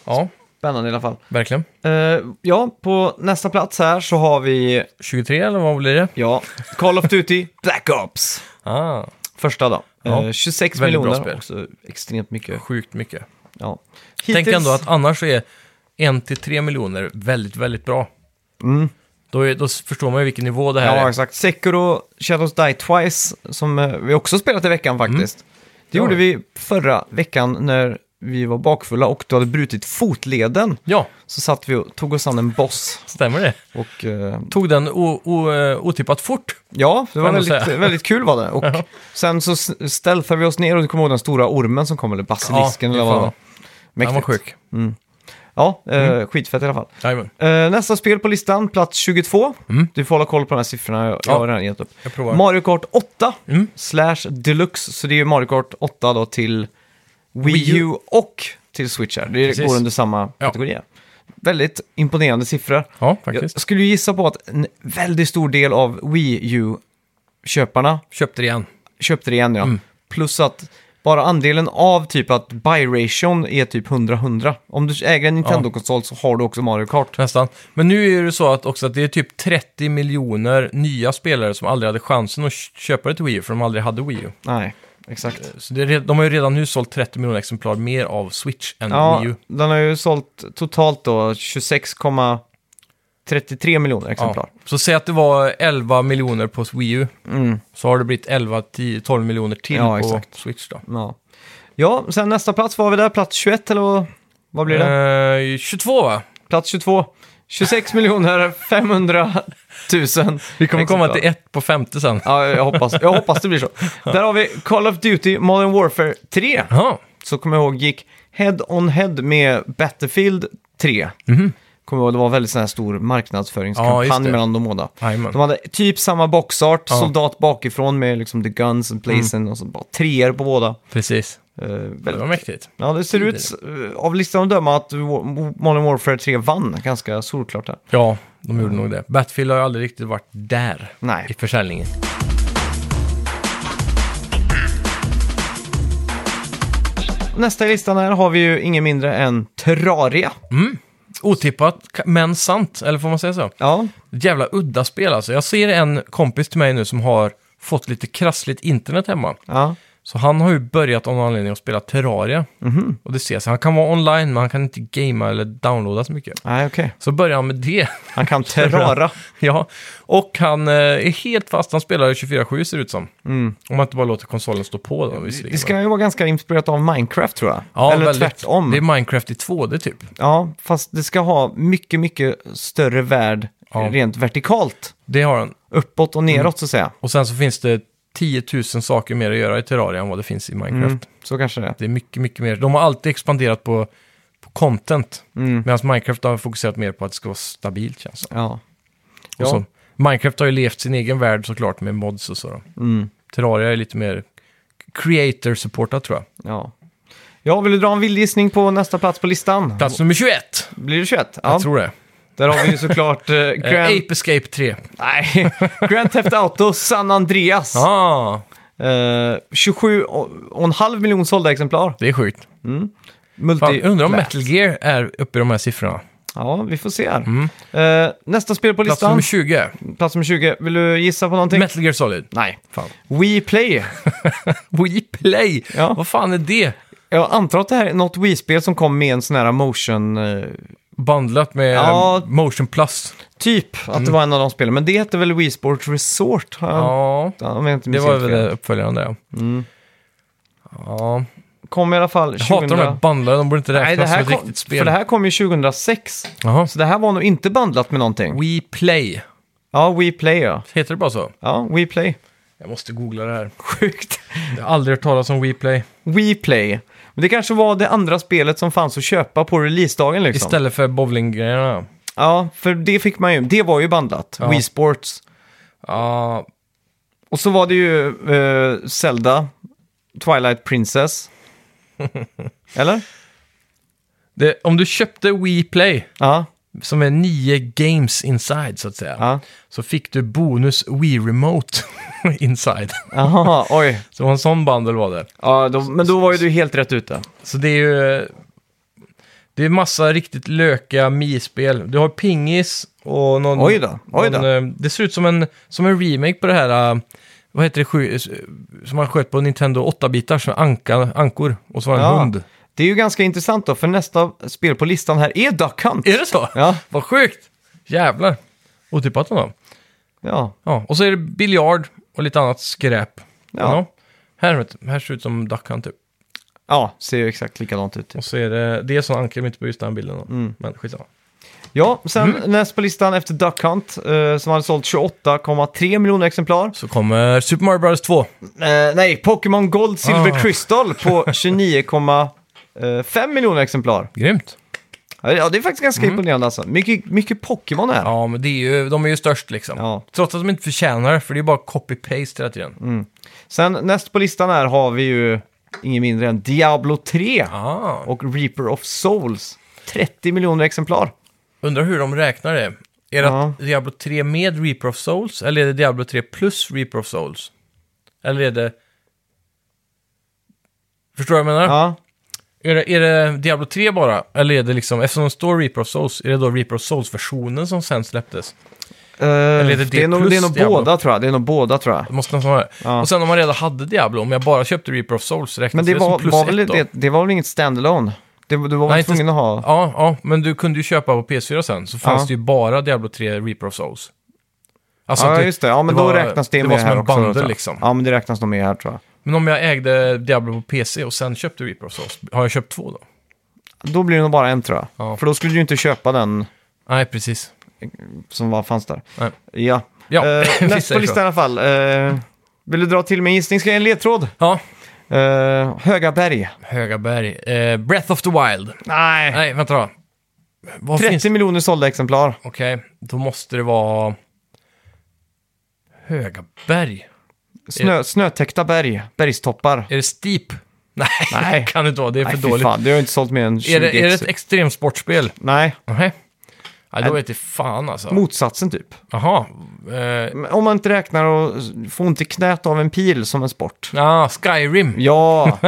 Speaker 2: Ja,
Speaker 1: spännande i alla fall.
Speaker 2: verkligen.
Speaker 1: Eh, ja, på nästa plats här så har vi
Speaker 2: 23 eller vad blir det?
Speaker 1: Ja, Call of Duty Black Ops.
Speaker 2: Ah,
Speaker 1: Första då.
Speaker 2: Ja.
Speaker 1: Eh, 26
Speaker 2: Väldigt bra
Speaker 1: miljoner.
Speaker 2: spel.
Speaker 1: Också extremt mycket.
Speaker 2: sjukt mycket.
Speaker 1: Ja.
Speaker 2: Tänk ändå att annars är 1 till 3 miljoner väldigt, väldigt bra. Då, är, då s- förstår man ju vilken nivå det här
Speaker 1: Mm. Ja,
Speaker 2: är.
Speaker 1: exakt. Sekiro Shadows Die Twice, som eh, vi också spelat i veckan faktiskt. Det
Speaker 2: Mm.
Speaker 1: gjorde
Speaker 2: Ja.
Speaker 1: vi förra veckan när vi var bakfulla och du hade brutit fotleden.
Speaker 2: Ja,
Speaker 1: Så satt vi och tog oss an en boss
Speaker 2: stämmer det.
Speaker 1: och eh,
Speaker 2: Tog den o, o, eh, otippat fort.
Speaker 1: Ja, det var
Speaker 2: jag nog
Speaker 1: väldigt,
Speaker 2: säga.
Speaker 1: väldigt kul var det. Och sen så s- stealthade vi oss ner och du kommer ihåg den stora ormen som kom, eller basilisken
Speaker 2: Ja,
Speaker 1: eller
Speaker 2: fy
Speaker 1: vad det
Speaker 2: fan.
Speaker 1: var.
Speaker 2: Den var
Speaker 1: Mäktigt.
Speaker 2: sjuk. Mm.
Speaker 1: Ja, eh, skitfett i alla fall.
Speaker 2: Jajamän.
Speaker 1: Eh, nästa spel på listan, plats 22. Du får hålla koll på de här siffrorna, jag, jag
Speaker 2: Mm. Ja.
Speaker 1: har redan gett upp.
Speaker 2: Jag provar.
Speaker 1: Mario Kart 8
Speaker 2: Mm.
Speaker 1: slash Deluxe, så det är ju Mario Kart 8 då till Wii
Speaker 2: Wii
Speaker 1: U och till Switch här. Det
Speaker 2: Precis.
Speaker 1: går under samma
Speaker 2: Ja.
Speaker 1: kategori. här. Väldigt imponerande siffror.
Speaker 2: Ja,
Speaker 1: Jag
Speaker 2: faktiskt.
Speaker 1: skulle ju gissa på att en väldigt stor del av Wii U-köparna
Speaker 2: Köpte det igen.
Speaker 1: köpte det igen ja.
Speaker 2: Mm.
Speaker 1: Plus att bara andelen av typ att buy-ration är typ 100-100. Om du äger en Nintendo-konsol så har du också Mario Kart.
Speaker 2: Nästan. Men nu är det så att också att det är typ 30 miljoner nya spelare som aldrig hade chansen att köpa ett Wii U, för de aldrig hade Wii U.
Speaker 1: Nej, exakt.
Speaker 2: Så det är, re- de har ju redan nu sålt 30 miljoner exemplar mer av Switch än
Speaker 1: Ja,
Speaker 2: Wii U.
Speaker 1: den har ju sålt totalt då 26,33 miljoner exemplar.
Speaker 2: Ja. Så säg att det var 11 miljoner på Wii U. Så har det blivit 11, 10, 12 miljoner till
Speaker 1: Ja,
Speaker 2: på
Speaker 1: exakt.
Speaker 2: Switch då.
Speaker 1: Ja. ja, sen nästa plats, vad har vi där? Plats 21 eller vad- vad blir det?
Speaker 2: Eh, 22 va?
Speaker 1: Plats 22. 26 miljoner 500 000.
Speaker 2: Vi kommer komma till ett på femte sen.
Speaker 1: Ja, jag hoppas, jag hoppas det blir så. Där har vi Call of Duty Modern Warfare 3.
Speaker 2: Ja,
Speaker 1: Så kommer jag ihåg gick head-on-head med Battlefield 3. Kommer jag ihåg, det var en väldigt sån här stor marknadsföringskampanj
Speaker 2: Mhm. Ja, just det.
Speaker 1: mellan de båda.
Speaker 2: Jajamän.
Speaker 1: De hade typ samma boxart,
Speaker 2: Ja.
Speaker 1: soldat bakifrån med liksom the guns and blazing och så bara treor på båda.
Speaker 2: precis.
Speaker 1: Eh,
Speaker 2: Det var
Speaker 1: väldigt...
Speaker 2: mäktigt.
Speaker 1: Ja, det ser ut eh, av listan att döma att Wa- Modern Warfare 3 vann ganska solklart där.
Speaker 2: Ja, de gjorde nog det. Battlefield har ju aldrig riktigt varit där
Speaker 1: Nej.
Speaker 2: i försäljningen.
Speaker 1: Nästa i listan här har vi ju ingen mindre än Terraria.
Speaker 2: Mm. Otippat, ka- men sant. Eller får man säga så?
Speaker 1: Ja,
Speaker 2: Jävla udda spel alltså. Jag ser en kompis till mig nu som har fått lite krassligt internet hemma.
Speaker 1: ja.
Speaker 2: Så han har ju börjat av någon anledning att spela Terraria.
Speaker 1: Mhm.
Speaker 2: Och det ses. Han kan vara online, men han kan inte gamea eller downloada så mycket.
Speaker 1: Nej, okej.
Speaker 2: Så börjar han med det.
Speaker 1: Han kan Terrara.
Speaker 2: ja. Och han eh, är helt fast. Han spelar 24-7 ser det ut som. Om man inte bara låter konsolen stå på då. visserligen.
Speaker 1: Mm. Det ska ju vara ganska inspirerat av Minecraft tror jag.
Speaker 2: Ja,
Speaker 1: Eller
Speaker 2: väldigt.
Speaker 1: tvärtom.
Speaker 2: Det är Minecraft i 2D typ.
Speaker 1: Ja, fast det ska ha mycket, mycket större värld
Speaker 2: Ja. Mm.
Speaker 1: rent vertikalt.
Speaker 2: Det har han.
Speaker 1: Uppåt och neråt så att säga.
Speaker 2: Och sen så finns det 10 000 saker mer att göra i Terraria än vad det finns i Minecraft.
Speaker 1: Så kanske det är.
Speaker 2: Det är mycket, mycket mer. De har alltid expanderat på, på content.
Speaker 1: Mm.
Speaker 2: Medan Minecraft har fokuserat mer på att det ska vara stabilt känns det.
Speaker 1: Ja.
Speaker 2: Och
Speaker 1: Ja.
Speaker 2: så, Minecraft har ju levt sin egen värld såklart med mods och så. Då.
Speaker 1: Mm.
Speaker 2: Terraria är lite mer creator-supportat tror jag.
Speaker 1: ja. Ja, vill du dra en villgissning på nästa plats på listan?
Speaker 2: Plats nummer 21!
Speaker 1: Blir det 21?
Speaker 2: Jag
Speaker 1: Ja.
Speaker 2: tror det.
Speaker 1: Där har vi ju såklart eh,
Speaker 2: Eh,
Speaker 1: Grand...
Speaker 2: Ape Escape 3.
Speaker 1: Nej, Grand Theft Auto San Andreas.
Speaker 2: Ah,
Speaker 1: Eh, 27 och, och en halv miljon sålda exemplar.
Speaker 2: det är sjukt.
Speaker 1: Multi
Speaker 2: Fan, undrar om Metal Gear är uppe i de här siffrorna.
Speaker 1: Ja, vi får se här. Eh, nästa spel på
Speaker 2: Mm. Plats
Speaker 1: listan.
Speaker 2: nummer 20.
Speaker 1: Plats nummer 20. Vill du gissa på någonting?
Speaker 2: Metal Gear Solid.
Speaker 1: Nej.
Speaker 2: Fan.
Speaker 1: Wii Play.
Speaker 2: Wii Play!
Speaker 1: Ja.
Speaker 2: Vad fan är det?
Speaker 1: Jag antar att det här är något Wii-spel som kom med en sån här motion... eh,
Speaker 2: Bundlat med
Speaker 1: Ja.
Speaker 2: eh, Motion Plus.
Speaker 1: typ att det var en av de spelen. Men det hette väl Wii Sports Resort? Har jag,
Speaker 2: Mm. Ja,
Speaker 1: om jag inte
Speaker 2: det
Speaker 1: minns
Speaker 2: var
Speaker 1: helt
Speaker 2: väl
Speaker 1: fel.
Speaker 2: det uppföljaren där. ja.
Speaker 1: Mm.
Speaker 2: Ja,
Speaker 1: Kom i alla fall
Speaker 2: jag
Speaker 1: 2000...
Speaker 2: hatar de här bundlarna, de borde inte
Speaker 1: Nej, det
Speaker 2: räknas som
Speaker 1: här
Speaker 2: ett
Speaker 1: kom,
Speaker 2: riktigt
Speaker 1: för
Speaker 2: spel.
Speaker 1: det här kom ju 2006.
Speaker 2: Jaha.
Speaker 1: Så det här var nog inte bandlat med någonting.
Speaker 2: Wii Play.
Speaker 1: Ja, Wii Play ja.
Speaker 2: Heter det bara så?
Speaker 1: Ja, Wii Play.
Speaker 2: Jag måste googla det här.
Speaker 1: Sjukt.
Speaker 2: Jag har aldrig hört talas om WePlay.
Speaker 1: Wii Play. Men det kanske var det andra spelet som fanns att köpa på releasedagen liksom.
Speaker 2: Istället för bowlinggrejerna.
Speaker 1: Ja, för det fick man ju. Det var ju bandlat.
Speaker 2: Ja.
Speaker 1: Wii Sports.
Speaker 2: Ja,
Speaker 1: Och så var det ju eh, Zelda, Twilight Princess. Eller?
Speaker 2: det, om du köpte WePlay,
Speaker 1: Ja.
Speaker 2: som är nio games inside så att säga,
Speaker 1: Ja.
Speaker 2: så fick du bonus Wii Remote inside.
Speaker 1: Jaha, oj.
Speaker 2: Så det var en sån bundle var det.
Speaker 1: Ja, då, men då var ju du helt rätt ute.
Speaker 2: Så det är ju... Det är massa riktigt löka mi-spel. Du har pingis och någon...
Speaker 1: Oj då, oj då.
Speaker 2: någon, eh, det ser ut som en, som en remake på det här... eh, Vad heter det? sju- eh, Som man sköt på Nintendo 8-bitar, som anka, ankor. Och så var det en
Speaker 1: Ja.
Speaker 2: hund.
Speaker 1: Det är ju ganska intressant då, för nästa spel på listan här är Duck Hunt.
Speaker 2: Är det så?
Speaker 1: Ja,
Speaker 2: Vad sjukt! Jävlar. Otippat ändå.
Speaker 1: ja.
Speaker 2: Ja, och så är det biljard och lite annat skräp.
Speaker 1: Ja.
Speaker 2: Här, vet du, här ser det ut som Duck Hunt typ.
Speaker 1: Ja, ser ju exakt likadant ut.
Speaker 2: Och så är det, det är sån anker mitt på just den bilden. då.
Speaker 1: Mm.
Speaker 2: Men skitsamma.
Speaker 1: Ja, sen näst på listan efter Duck Hunt, eh, som hade sålt 28,3 miljoner exemplar.
Speaker 2: Så kommer Super Mario Bros 2.
Speaker 1: Eh, nej, Pokémon Gold Silver
Speaker 2: Ah.
Speaker 1: Crystal på 29,5 miljoner exemplar.
Speaker 2: Grymt.
Speaker 1: Ja, det är faktiskt ganska imponerande alltså. Mycket, mycket Pokémon här.
Speaker 2: Mm. Ja, men det är ju, de är ju störst liksom.
Speaker 1: Ja. Mm.
Speaker 2: Trots att de inte förtjänar det, för det är bara copy-paste hela tiden.
Speaker 1: Sen näst på listan här har vi ju ingen mindre än Diablo 3
Speaker 2: Ah.
Speaker 1: och Reaper of Souls. 30 miljoner exemplar.
Speaker 2: Undrar hur de räknar det. Är det
Speaker 1: Ja.
Speaker 2: att Diablo 3 med Reaper of Souls, eller är det Diablo 3 plus Reaper of Souls? Eller är det... Förstår du vad jag menar?
Speaker 1: Ja,
Speaker 2: Är, det, är det Diablo 3 bara? Eller är det liksom, eftersom det står Reaper of Souls, är det då Reaper of Souls-versionen som sen släpptes?
Speaker 1: Eh,
Speaker 2: är det
Speaker 1: det, är
Speaker 2: D
Speaker 1: nog,
Speaker 2: plus
Speaker 1: det är nog
Speaker 2: Diablo?
Speaker 1: båda tror jag. Det är nog båda tror jag.
Speaker 2: Det måste nästan vara det.
Speaker 1: Ja.
Speaker 2: Och sen om man redan hade Diablo, om jag bara köpte Reaper of Souls, räknas
Speaker 1: Men det,
Speaker 2: Alltså, det
Speaker 1: var,
Speaker 2: som plus
Speaker 1: var
Speaker 2: ett
Speaker 1: väl,
Speaker 2: då?
Speaker 1: det, det var väl inget standalone? Det, du var
Speaker 2: Nej,
Speaker 1: väl
Speaker 2: inte-
Speaker 1: tvungen att ha...
Speaker 2: Ja, ja, men du kunde ju köpa på PS4 sen, så fanns
Speaker 1: Ja.
Speaker 2: det ju bara Diablo 3 Reaper of Souls. Alltså
Speaker 1: ja,
Speaker 2: att det-
Speaker 1: just det. Ja, men
Speaker 2: det
Speaker 1: då
Speaker 2: var-
Speaker 1: räknas det,
Speaker 2: det
Speaker 1: med
Speaker 2: var som
Speaker 1: här
Speaker 2: en
Speaker 1: också.
Speaker 2: bundle,
Speaker 1: tror jag.
Speaker 2: liksom.
Speaker 1: Ja, men det räknas nog med här tror jag.
Speaker 2: Men om jag ägde Diablo på PC och sen köpte Reaper of Souls, har jag köpt två då?
Speaker 1: Då blir det nog bara en tror jag.
Speaker 2: Ja.
Speaker 1: För då skulle du ju inte köpa den
Speaker 2: Nej, precis.
Speaker 1: som var, fanns där.
Speaker 2: Nej.
Speaker 1: Ja.
Speaker 2: Ja,
Speaker 1: Eh,
Speaker 2: vi
Speaker 1: näst på
Speaker 2: säger så.
Speaker 1: listan i alla fall. Eh, vill du dra till med en gissning? Ska jag ge en ledtråd?
Speaker 2: Ja,
Speaker 1: Eh, Höga berg.
Speaker 2: Höga berg. Eh, Breath of the Wild.
Speaker 1: Nej.
Speaker 2: Nej, vänta då. Vad
Speaker 1: 30
Speaker 2: finns...
Speaker 1: miljoner sålda exemplar.
Speaker 2: Okej, då måste det vara... Höga berg.
Speaker 1: Snö, snötäckta berg. Bergstoppar.
Speaker 2: Är det steep? Nej,
Speaker 1: Nej.
Speaker 2: kan det inte vara. Det är för
Speaker 1: Nej, fy
Speaker 2: dåligt.
Speaker 1: fan. Det har ju inte sålt mer än 20
Speaker 2: Är det, är det ett
Speaker 1: ex-
Speaker 2: extremsportspel?
Speaker 1: Nej,
Speaker 2: Nej. Nej, då vete fan alltså.
Speaker 1: motsatsen typ.
Speaker 2: Jaha. Eh,
Speaker 1: Men Om man inte räknar och få ont i knät av en pil som en sport.
Speaker 2: ah, Skyrim.
Speaker 1: Ja.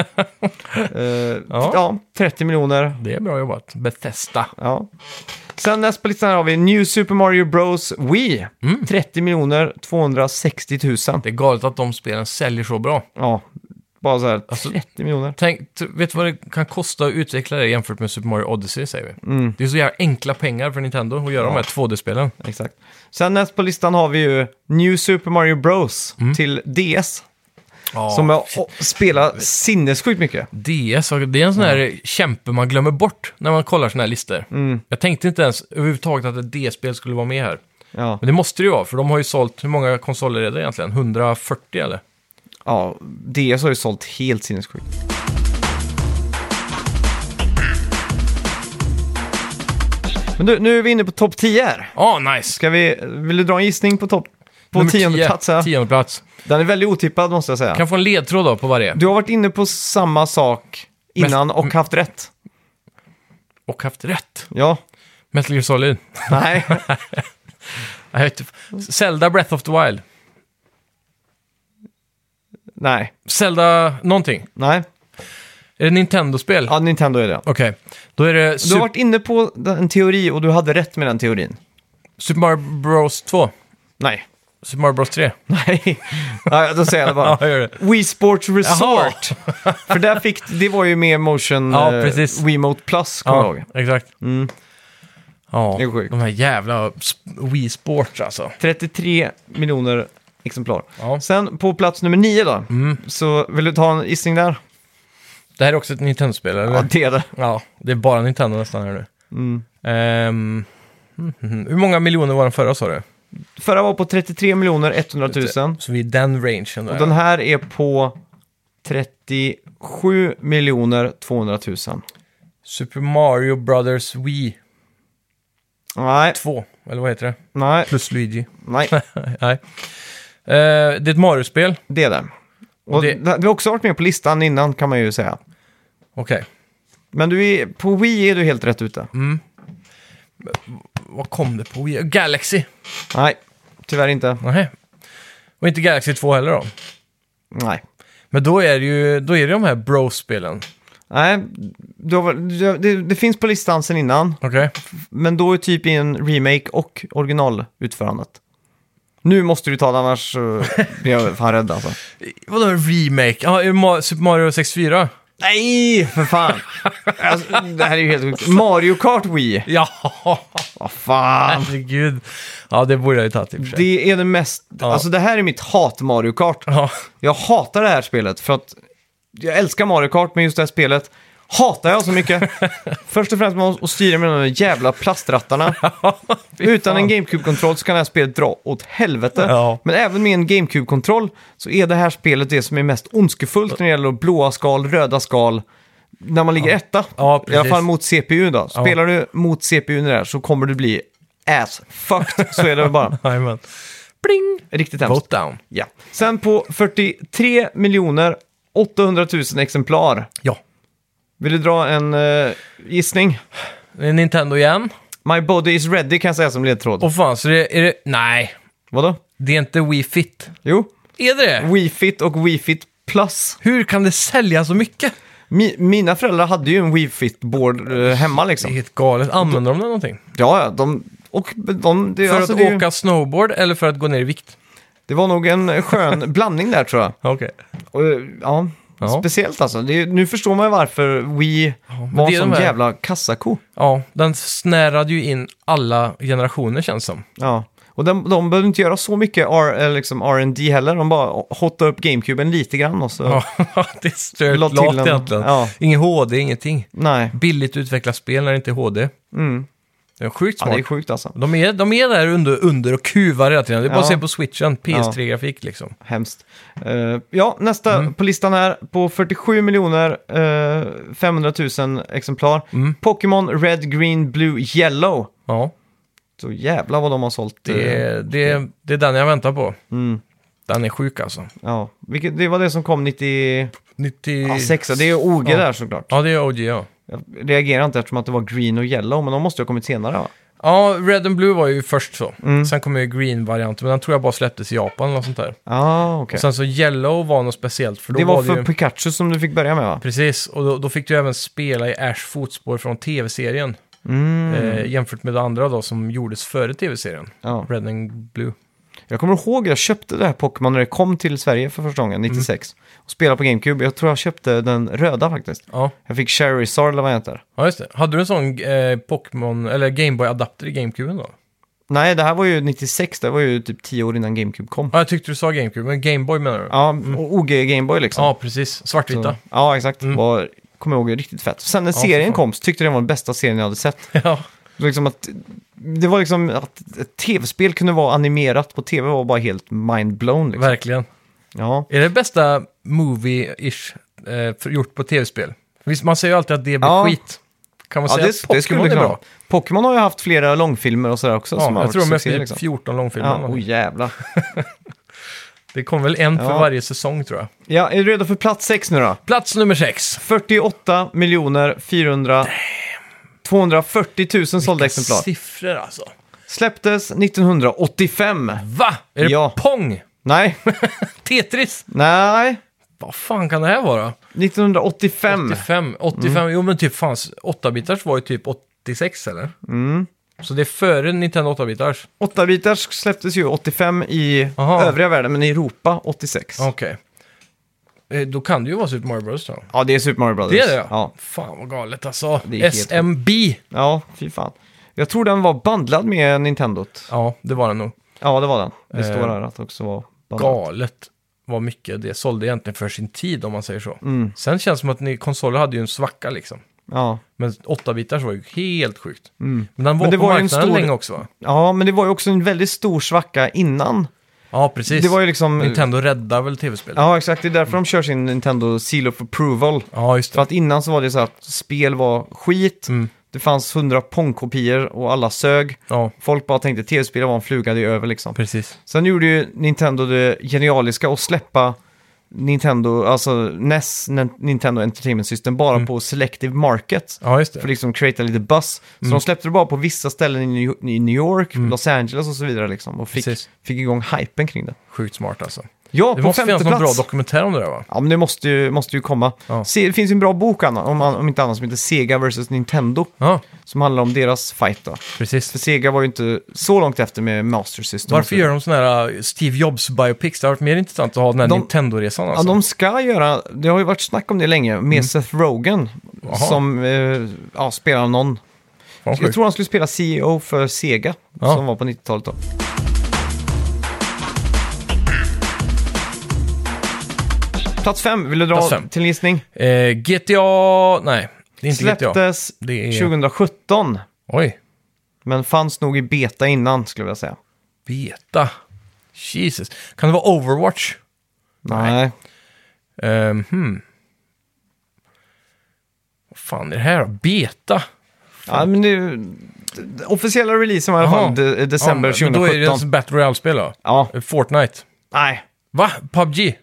Speaker 1: Eh, ja.
Speaker 2: Ja.
Speaker 1: 30 miljoner.
Speaker 2: Det är bra jobbat. Bethesda.
Speaker 1: Ja. Sen näst på listan här har vi New Super Mario Bros Wii.
Speaker 2: Mm.
Speaker 1: 30 miljoner 260 000.
Speaker 2: Det är galet att de spelen säljer så bra.
Speaker 1: Ja, bara så här
Speaker 2: Alltså-
Speaker 1: 30 miljoner.
Speaker 2: Tänk, t- vet du vad det kan kosta att utveckla det jämfört med Super Mario Odyssey, säger vi? Det är så jävla enkla pengar för Nintendo att göra de här 2D-spelen.
Speaker 1: Exakt. Sen näst på listan har vi ju New Super Mario Bros till DS.
Speaker 2: Mm. Ja,
Speaker 1: Som jag å- spelar sinnessjukt mycket.
Speaker 2: DS, har- det är en sån här kämpe man glömmer bort när man kollar såna här listor. Jag tänkte inte ens överhuvudtaget att ett DS-spel skulle vara med här.
Speaker 1: Ja,
Speaker 2: Men det måste det ju vara, för de har ju sålt, hur många konsoler är det egentligen? 140 eller?
Speaker 1: ja DS har ju sålt helt sinnessjukt. Men du, nu är vi inne på topp 10 här.
Speaker 2: Ja, Ah, nice!
Speaker 1: Ska vi, vill du dra en gissning på topp? På
Speaker 2: Nummer
Speaker 1: tionde
Speaker 2: tio.
Speaker 1: plats här.
Speaker 2: Tionde plats.
Speaker 1: Den är väldigt otippad måste jag säga.
Speaker 2: Kan jag få en ledtråd då på varje?
Speaker 1: Du har varit inne på samma sak innan och haft rätt.
Speaker 2: Och haft rätt.
Speaker 1: Ja.
Speaker 2: Metal Gear Solid.
Speaker 1: Nej.
Speaker 2: Jag vet inte. Zelda Breath of the Wild.
Speaker 1: Nej.
Speaker 2: Zelda någonting.
Speaker 1: Nej.
Speaker 2: Är det Nintendo-spel?
Speaker 1: Ja, Nintendo är det.
Speaker 2: Okej, då är det
Speaker 1: Du
Speaker 2: Super,
Speaker 1: har varit inne på den- en teori och du hade rätt med den teorin.
Speaker 2: Super Mario Bros 2.
Speaker 1: Nej.
Speaker 2: Super Mario Bros 3.
Speaker 1: Nej. Ja, då säger jag det
Speaker 2: Ja,
Speaker 1: bara.
Speaker 2: jag gör det.
Speaker 1: Wii Sports Resort. För där fick, det var ju med motion
Speaker 2: Ja,
Speaker 1: eh,
Speaker 2: precis.
Speaker 1: Wiimote Plus, kommer jag
Speaker 2: Ja,
Speaker 1: ihåg.
Speaker 2: exakt. Ja,
Speaker 1: Mm. Det är sjukt.
Speaker 2: de här jävla sp- Wii Sports alltså.
Speaker 1: 33 miljoner exemplar.
Speaker 2: Ja. Mm.
Speaker 1: Sen på plats nummer 9 då, så vill du ta en gissning där?
Speaker 2: Det här är också ett Nintendo-spel, eller?
Speaker 1: Ja,
Speaker 2: Ja.
Speaker 1: det Mm. är det.
Speaker 2: det är bara Nintendo nästan här nu. Ehm, mhm, mhm. Hur många miljoner var den förra sa du?
Speaker 1: Förra var på 33 miljoner 100 000.
Speaker 2: Så vi är i den rangen där.
Speaker 1: Och den här är på 37 miljoner 200 000.
Speaker 2: Super Mario Brothers Wii
Speaker 1: Nej,
Speaker 2: 2, eller vad heter det?
Speaker 1: nej,
Speaker 2: Plus Luigi.
Speaker 1: nej,
Speaker 2: Nej. Eh, det är ett Mario-spel.
Speaker 1: det är det. Och det...
Speaker 2: Det-
Speaker 1: Du har också varit med på listan innan kan man ju säga.
Speaker 2: Okej.
Speaker 1: Men du är, på Wii är du helt rätt ute.
Speaker 2: Vad kom det på? Wii? Galaxy?
Speaker 1: Nej, tyvärr inte.
Speaker 2: Nej. Och inte Galaxy 2 heller då.
Speaker 1: Nej.
Speaker 2: Men då är det ju då är det de här Bros-spelen.
Speaker 1: Nej, du har, väl- du, det, det finns på listan sen innan,
Speaker 2: Okej.
Speaker 1: men då är typ i en remake och originalutförandet. Nu måste du ta det, annars eh, blir jag fan rädd alltså.
Speaker 2: Vadå en remake? Ja, är det Ma- Super Mario 64?
Speaker 1: Nej, för fan. Alltså, det här är ju helt sjukt. Mario Kart Wii.
Speaker 2: Ja,
Speaker 1: Vad fan.
Speaker 2: herregud. Ja, det borde jag ju tagit i och för sig.
Speaker 1: Det är det mest... Alltså det här är mitt hat Mario Kart.
Speaker 2: Ja.
Speaker 1: Jag hatar det här spelet för att jag älskar Mario Kart, men just det här spelet hatar jag så mycket. Först och främst med att styra med de där jävla plastrattarna. Utan en GameCube-kontroll så kan det här spelet dra åt helvete.
Speaker 2: Ja.
Speaker 1: Men även med en GameCube-kontroll så är det här spelet det som är mest ondskefullt när det gäller blåa skal, röda skal. När man ligger etta,
Speaker 2: Ja,
Speaker 1: i alla
Speaker 2: precis.
Speaker 1: fall mot CPU då. Spelar du mot CPU i det här så kommer du bli ass-fucked. Så är det bara.
Speaker 2: Jajamän. Pling!
Speaker 1: Riktigt hemskt.
Speaker 2: Vote down.
Speaker 1: Ja. Sen på 43 miljoner 800 000 exemplar.
Speaker 2: Ja.
Speaker 1: Vill du dra en eh, gissning?
Speaker 2: Det är Nintendo igen.
Speaker 1: My body is ready kan jag säga som ledtråd.
Speaker 2: Och fan, så det är det... Nej,
Speaker 1: Vadå?
Speaker 2: det är inte Wii Fit.
Speaker 1: Jo,
Speaker 2: Är det det?
Speaker 1: Wii Fit och Wii Fit Plus.
Speaker 2: Hur kan det sälja så mycket?
Speaker 1: Mi- mina föräldrar hade ju en Wii Fit-board eh, hemma
Speaker 2: Det är
Speaker 1: liksom.
Speaker 2: helt galet. Använder de det någonting?
Speaker 1: Ja, ja, de... Och de, det,
Speaker 2: För
Speaker 1: alltså,
Speaker 2: att
Speaker 1: det, är ju-
Speaker 2: åka snowboard eller för att gå ner i vikt?
Speaker 1: det var nog en skön blandning där tror jag.
Speaker 2: Okej.
Speaker 1: Och, eh, ja,
Speaker 2: Ja.
Speaker 1: speciellt alltså. Det, är- nu förstår man ju varför Wii var en
Speaker 2: det är
Speaker 1: sån
Speaker 2: de här-
Speaker 1: jävla kassako.
Speaker 2: Ja, den snärade ju in alla generationer känns som.
Speaker 1: Ja, och de, de behöver inte göra så mycket R, eller liksom R&D heller. De bara hotta upp GameCuben lite grann och så...
Speaker 2: Ja, det är stört
Speaker 1: La till
Speaker 2: lat
Speaker 1: en-
Speaker 2: egentligen.
Speaker 1: ja.
Speaker 2: Ingen HD, ingenting.
Speaker 1: Nej,
Speaker 2: Billigt utveckla spel när det inte är HD. Det är sjukt
Speaker 1: Mm. ja,
Speaker 2: smart.
Speaker 1: det är sjukt alltså.
Speaker 2: de, är, de är där under, under och kuvar hela tiden. Det är bara
Speaker 1: Ja.
Speaker 2: att se på switchen, PS3-grafik liksom.
Speaker 1: Hemskt. Eh, ja, nästa
Speaker 2: Mm.
Speaker 1: på listan här på 47 miljoner eh, 500 000 exemplar.
Speaker 2: Mm.
Speaker 1: Pokémon Red, Green, Blue, Yellow.
Speaker 2: Ja,
Speaker 1: Så jävla vad de har sålt.
Speaker 2: det,
Speaker 1: eh, mm,
Speaker 2: är- det, är- det är den jag väntar på. Den är sjuk alltså.
Speaker 1: Ja, vilket, det var det som kom 96.
Speaker 2: 90...
Speaker 1: det är OG
Speaker 2: Ja.
Speaker 1: där såklart.
Speaker 2: Ja, det är OG ja.
Speaker 1: Jag reagerar inte eftersom att det var green och yellow, men de måste ju ha kommit senare va?
Speaker 2: Ja, Red and Blue var ju först så.
Speaker 1: Mm.
Speaker 2: Sen kom ju Green-varianten, men den tror jag bara släpptes i Japan eller något sånt där.
Speaker 1: Ah, okej.
Speaker 2: Och sen så Yellow var något speciellt, för då
Speaker 1: Det var för
Speaker 2: det ju...
Speaker 1: Pikachu som du fick börja med va?
Speaker 2: Precis, och då, då fick du även spela i Ash fotspår från tv-serien.
Speaker 1: Mm,
Speaker 2: Eh, jämfört med det andra då som gjordes före tv-serien.
Speaker 1: Ja.
Speaker 2: Red and Blue.
Speaker 1: Jag kommer ihåg jag köpte det här Pokémon när det kom till Sverige för första
Speaker 2: Mm.
Speaker 1: gången, 96. Och spelade på GameCube. Jag tror jag köpte den röda faktiskt.
Speaker 2: Ja,
Speaker 1: Jag fick Charizard eller vad han heter.
Speaker 2: ja just det. Hade du en sån eh, Pokémon, eller Gameboy-adapter i GameCube då?
Speaker 1: Nej, det här var ju 96. Det var ju typ 10 år innan GameCube kom.
Speaker 2: Ja, jag tyckte du sa GameCube, men Gameboy menar du?
Speaker 1: Ja, och OG Gameboy liksom.
Speaker 2: Mm. Ja, precis. Svartvita.
Speaker 1: Så- ja exakt. Var, kommer jag ihåg, riktigt fett. Sen när
Speaker 2: Ja,
Speaker 1: serien
Speaker 2: för fan.
Speaker 1: kom så tyckte jag det var den bästa serien jag hade sett.
Speaker 2: ja.
Speaker 1: Liksom att, det var liksom att ett tv-spel kunde vara animerat på tv var bara helt mind-blown. Liksom.
Speaker 2: Verkligen.
Speaker 1: Ja.
Speaker 2: Är det bästa movie-ish eh, för- gjort på tv-spel? Visst, man säger ju alltid att det blir
Speaker 1: Ja.
Speaker 2: skit. Kan man
Speaker 1: Ja,
Speaker 2: säga
Speaker 1: det,
Speaker 2: att
Speaker 1: det skulle
Speaker 2: Pokémon är
Speaker 1: kunna
Speaker 2: bra?
Speaker 1: vara. Pokémon har ju haft flera långfilmer och sådär också. som
Speaker 2: Ja,
Speaker 1: har
Speaker 2: jag tror de
Speaker 1: varit
Speaker 2: är
Speaker 1: succéer,
Speaker 2: typ
Speaker 1: liksom.
Speaker 2: 14 långfilmer.
Speaker 1: Ja,
Speaker 2: eller något.
Speaker 1: oh jävlar.
Speaker 2: Det kom väl en för
Speaker 1: Ja.
Speaker 2: varje säsong tror jag.
Speaker 1: Ja, är du redo för plats sex nu då?
Speaker 2: Plats nummer 6.
Speaker 1: 48 miljoner 400... 240 000 sålda exemplar.
Speaker 2: Siffror alltså.
Speaker 1: Släpptes 1985.
Speaker 2: Va? Är det
Speaker 1: Ja.
Speaker 2: Pong?
Speaker 1: Nej,
Speaker 2: Tetris?
Speaker 1: nej.
Speaker 2: Vad fan kan det här vara?
Speaker 1: 1985.
Speaker 2: 85? 85?
Speaker 1: Mm.
Speaker 2: Jo men typ fanns 8-bitars var ju typ 86 eller?
Speaker 1: Mm.
Speaker 2: Så det är före Nintendo 8-bitars?
Speaker 1: 8-bitars släpptes ju 85 i
Speaker 2: Aha.
Speaker 1: övriga världen, men i Europa 86. Ja,
Speaker 2: Okej. Eh, Då kan det ju vara Super Mario Bros då.
Speaker 1: det är Super Mario Brothers.
Speaker 2: Det är det
Speaker 1: ja.
Speaker 2: Fan vad galet alltså.
Speaker 1: Det är helt
Speaker 2: SMB.
Speaker 1: Ja, fy fan. Jag tror den var bandlad med Nintendot.
Speaker 2: Ja, det var det nog.
Speaker 1: Ja, det var den. Det
Speaker 2: Eh,
Speaker 1: står här att det också var bandlat.
Speaker 2: Galet vad mycket det sålde egentligen för sin tid om man säger så.
Speaker 1: Mm.
Speaker 2: Sen känns det som att ni, konsoler hade ju en svacka liksom.
Speaker 1: Ja.
Speaker 2: Men 8-bitars var ju helt sjukt. Men den var
Speaker 1: Mm. Men det
Speaker 2: på
Speaker 1: var ju en
Speaker 2: marknaden
Speaker 1: stor-
Speaker 2: länge också va?
Speaker 1: ja, men det var ju också en väldigt stor svacka innan.
Speaker 2: Ja, precis.
Speaker 1: Det var ju liksom...
Speaker 2: Nintendo räddade väl tv-spel?
Speaker 1: Ja, exakt. Det är därför de kör sin Nintendo Seal of Approval.
Speaker 2: Ja, just
Speaker 1: För
Speaker 2: det.
Speaker 1: att innan så var det så att spel var skit.
Speaker 2: Mm.
Speaker 1: Det fanns hundra Pong-kopior och alla sög.
Speaker 2: Ja,
Speaker 1: Folk bara tänkte tv-spel var en fluga det är över liksom.
Speaker 2: precis.
Speaker 1: Sen gjorde ju Nintendo det genialiska att släppa Nintendo, alltså NES, Nin- Nintendo Entertainment System, bara på Selective Market.
Speaker 2: Mm. Ja, just
Speaker 1: För
Speaker 2: det.
Speaker 1: att liksom creata lite buzz. Så
Speaker 2: Mm.
Speaker 1: de släppte det bara på vissa ställen i New- i New York, Los Angeles och så vidare liksom. Och fick,
Speaker 2: Precis.
Speaker 1: fick igång hypen kring det.
Speaker 2: Sjukt smart alltså.
Speaker 1: Ja,
Speaker 2: Det
Speaker 1: på
Speaker 2: måste finnas
Speaker 1: femte
Speaker 2: någon bra
Speaker 1: plats.
Speaker 2: dokumentär om det där va?
Speaker 1: ja, men det måste ju, måste ju komma.
Speaker 2: Ja.
Speaker 1: Se, det finns ju en bra bok, Anna, om, om inte annat, som heter Sega vs. Nintendo.
Speaker 2: Ja,
Speaker 1: Som handlar om deras fight då. För
Speaker 2: precis.
Speaker 1: Sega var ju inte så långt efter med Master System.
Speaker 2: Varför gör de sådana här uh, Steve Jobs-biopics? Det har varit mer intressant att ha den här
Speaker 1: De-
Speaker 2: Nintendo-resan
Speaker 1: Ja,
Speaker 2: alltså. Mm.
Speaker 1: de ska göra, det har ju varit snack om det länge, med Seth Rogen.
Speaker 2: Jaha.
Speaker 1: Som eh, ja, spelar någon.
Speaker 2: Fan,
Speaker 1: Jag
Speaker 2: sjukt.
Speaker 1: tror han skulle spela CEO för Sega,
Speaker 2: Ja.
Speaker 1: som var på 90-talet då. Plats fem, vill du dra
Speaker 2: Plats fem.
Speaker 1: till en gissning?
Speaker 2: Eh, GTA... Nej, det är inte GTA.
Speaker 1: Släpptes
Speaker 2: Det är-
Speaker 1: 2017,
Speaker 2: Oj,
Speaker 1: men fanns nog i beta innan skulle jag vilja säga.
Speaker 2: beta. Jesus. Kan det vara Overwatch?
Speaker 1: Nej,
Speaker 2: Ehm, hmm. Vad fan är det här då? Beta?
Speaker 1: Ja, men nu, d- officiella releasen var i alla
Speaker 2: Jaha.
Speaker 1: fall de, december
Speaker 2: Ja, men
Speaker 1: 2017.
Speaker 2: Då är det ett Battle Royale-spel då?
Speaker 1: Ja,
Speaker 2: Fortnite?
Speaker 1: nej.
Speaker 2: Va? PubG?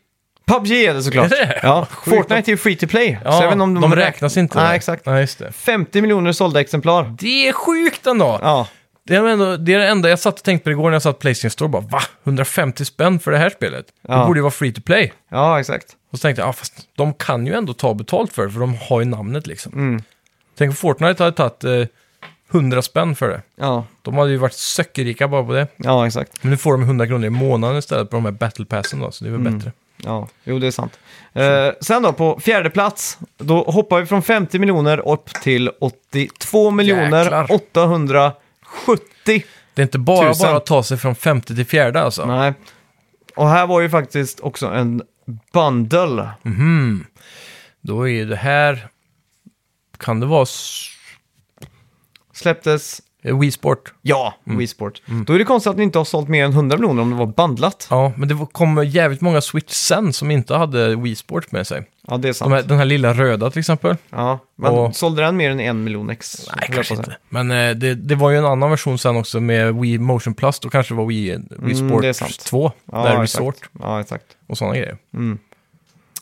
Speaker 1: PubG är det såklart.
Speaker 2: Är det?
Speaker 1: Ja,
Speaker 2: Sjukt.
Speaker 1: Fortnite är ju free to play.
Speaker 2: Ja,
Speaker 1: så även om
Speaker 2: de räknas inte.
Speaker 1: Nej, exakt.
Speaker 2: Nej, just det.
Speaker 1: 50 miljoner sålda exemplar.
Speaker 2: Det är sjukt ändå!
Speaker 1: Ja,
Speaker 2: Det, är ändå det är det enda jag satt och tänkte på igår när jag satt på Playstation Store. Bara, va? 150 spänn för det här spelet? Det
Speaker 1: Ja.
Speaker 2: borde ju vara free to play.
Speaker 1: ja exakt.
Speaker 2: Och så tänkte jag, ah, fast de kan ju ändå ta betalt för det, för de har ju namnet liksom.
Speaker 1: Mm.
Speaker 2: Tänk om Fortnite hade tagit eh, 100 spänn för det.
Speaker 1: Ja,
Speaker 2: De hade ju varit sökkerika bara på det.
Speaker 1: ja exakt.
Speaker 2: Men nu får de 100 kronor i månaden istället på de här battle passen då, så det är väl
Speaker 1: Mm.
Speaker 2: bättre.
Speaker 1: Ja, jo, det är sant. Eh, sen då, på fjärde plats, då hoppar vi från 50 miljoner upp till 82 miljoner
Speaker 2: Jäklar.
Speaker 1: 870.
Speaker 2: Det är inte bara,
Speaker 1: Tusen.
Speaker 2: bara att ta sig från femte till fjärde alltså.
Speaker 1: Nej. Och här var ju faktiskt också en bundle.
Speaker 2: Då är det här... Kan det vara s-
Speaker 1: Släpptes,
Speaker 2: eh, Wii Sport?
Speaker 1: ja,
Speaker 2: Mm.
Speaker 1: Wii Sport. Då är det konstigt att ni inte har sålt mer än 100 miljoner om det var bandlat.
Speaker 2: Ja, men det var- kom jävligt många Switch sen som inte hade Wii Sport med sig.
Speaker 1: Ja, det är sant.
Speaker 2: De här, den här lilla röda till exempel.
Speaker 1: Ja, men
Speaker 2: Och-
Speaker 1: sålde den mer än en miljon ex?
Speaker 2: Nej, kanske inte. Men eh, det, det var ju en annan version sen också med Wii Motion Plus. Då kanske det var Wii, Wii
Speaker 1: Mm,
Speaker 2: Sport
Speaker 1: det är sant.
Speaker 2: 2.
Speaker 1: Ja,
Speaker 2: där
Speaker 1: exakt.
Speaker 2: Resort
Speaker 1: Ja, exakt.
Speaker 2: och sådana grejer.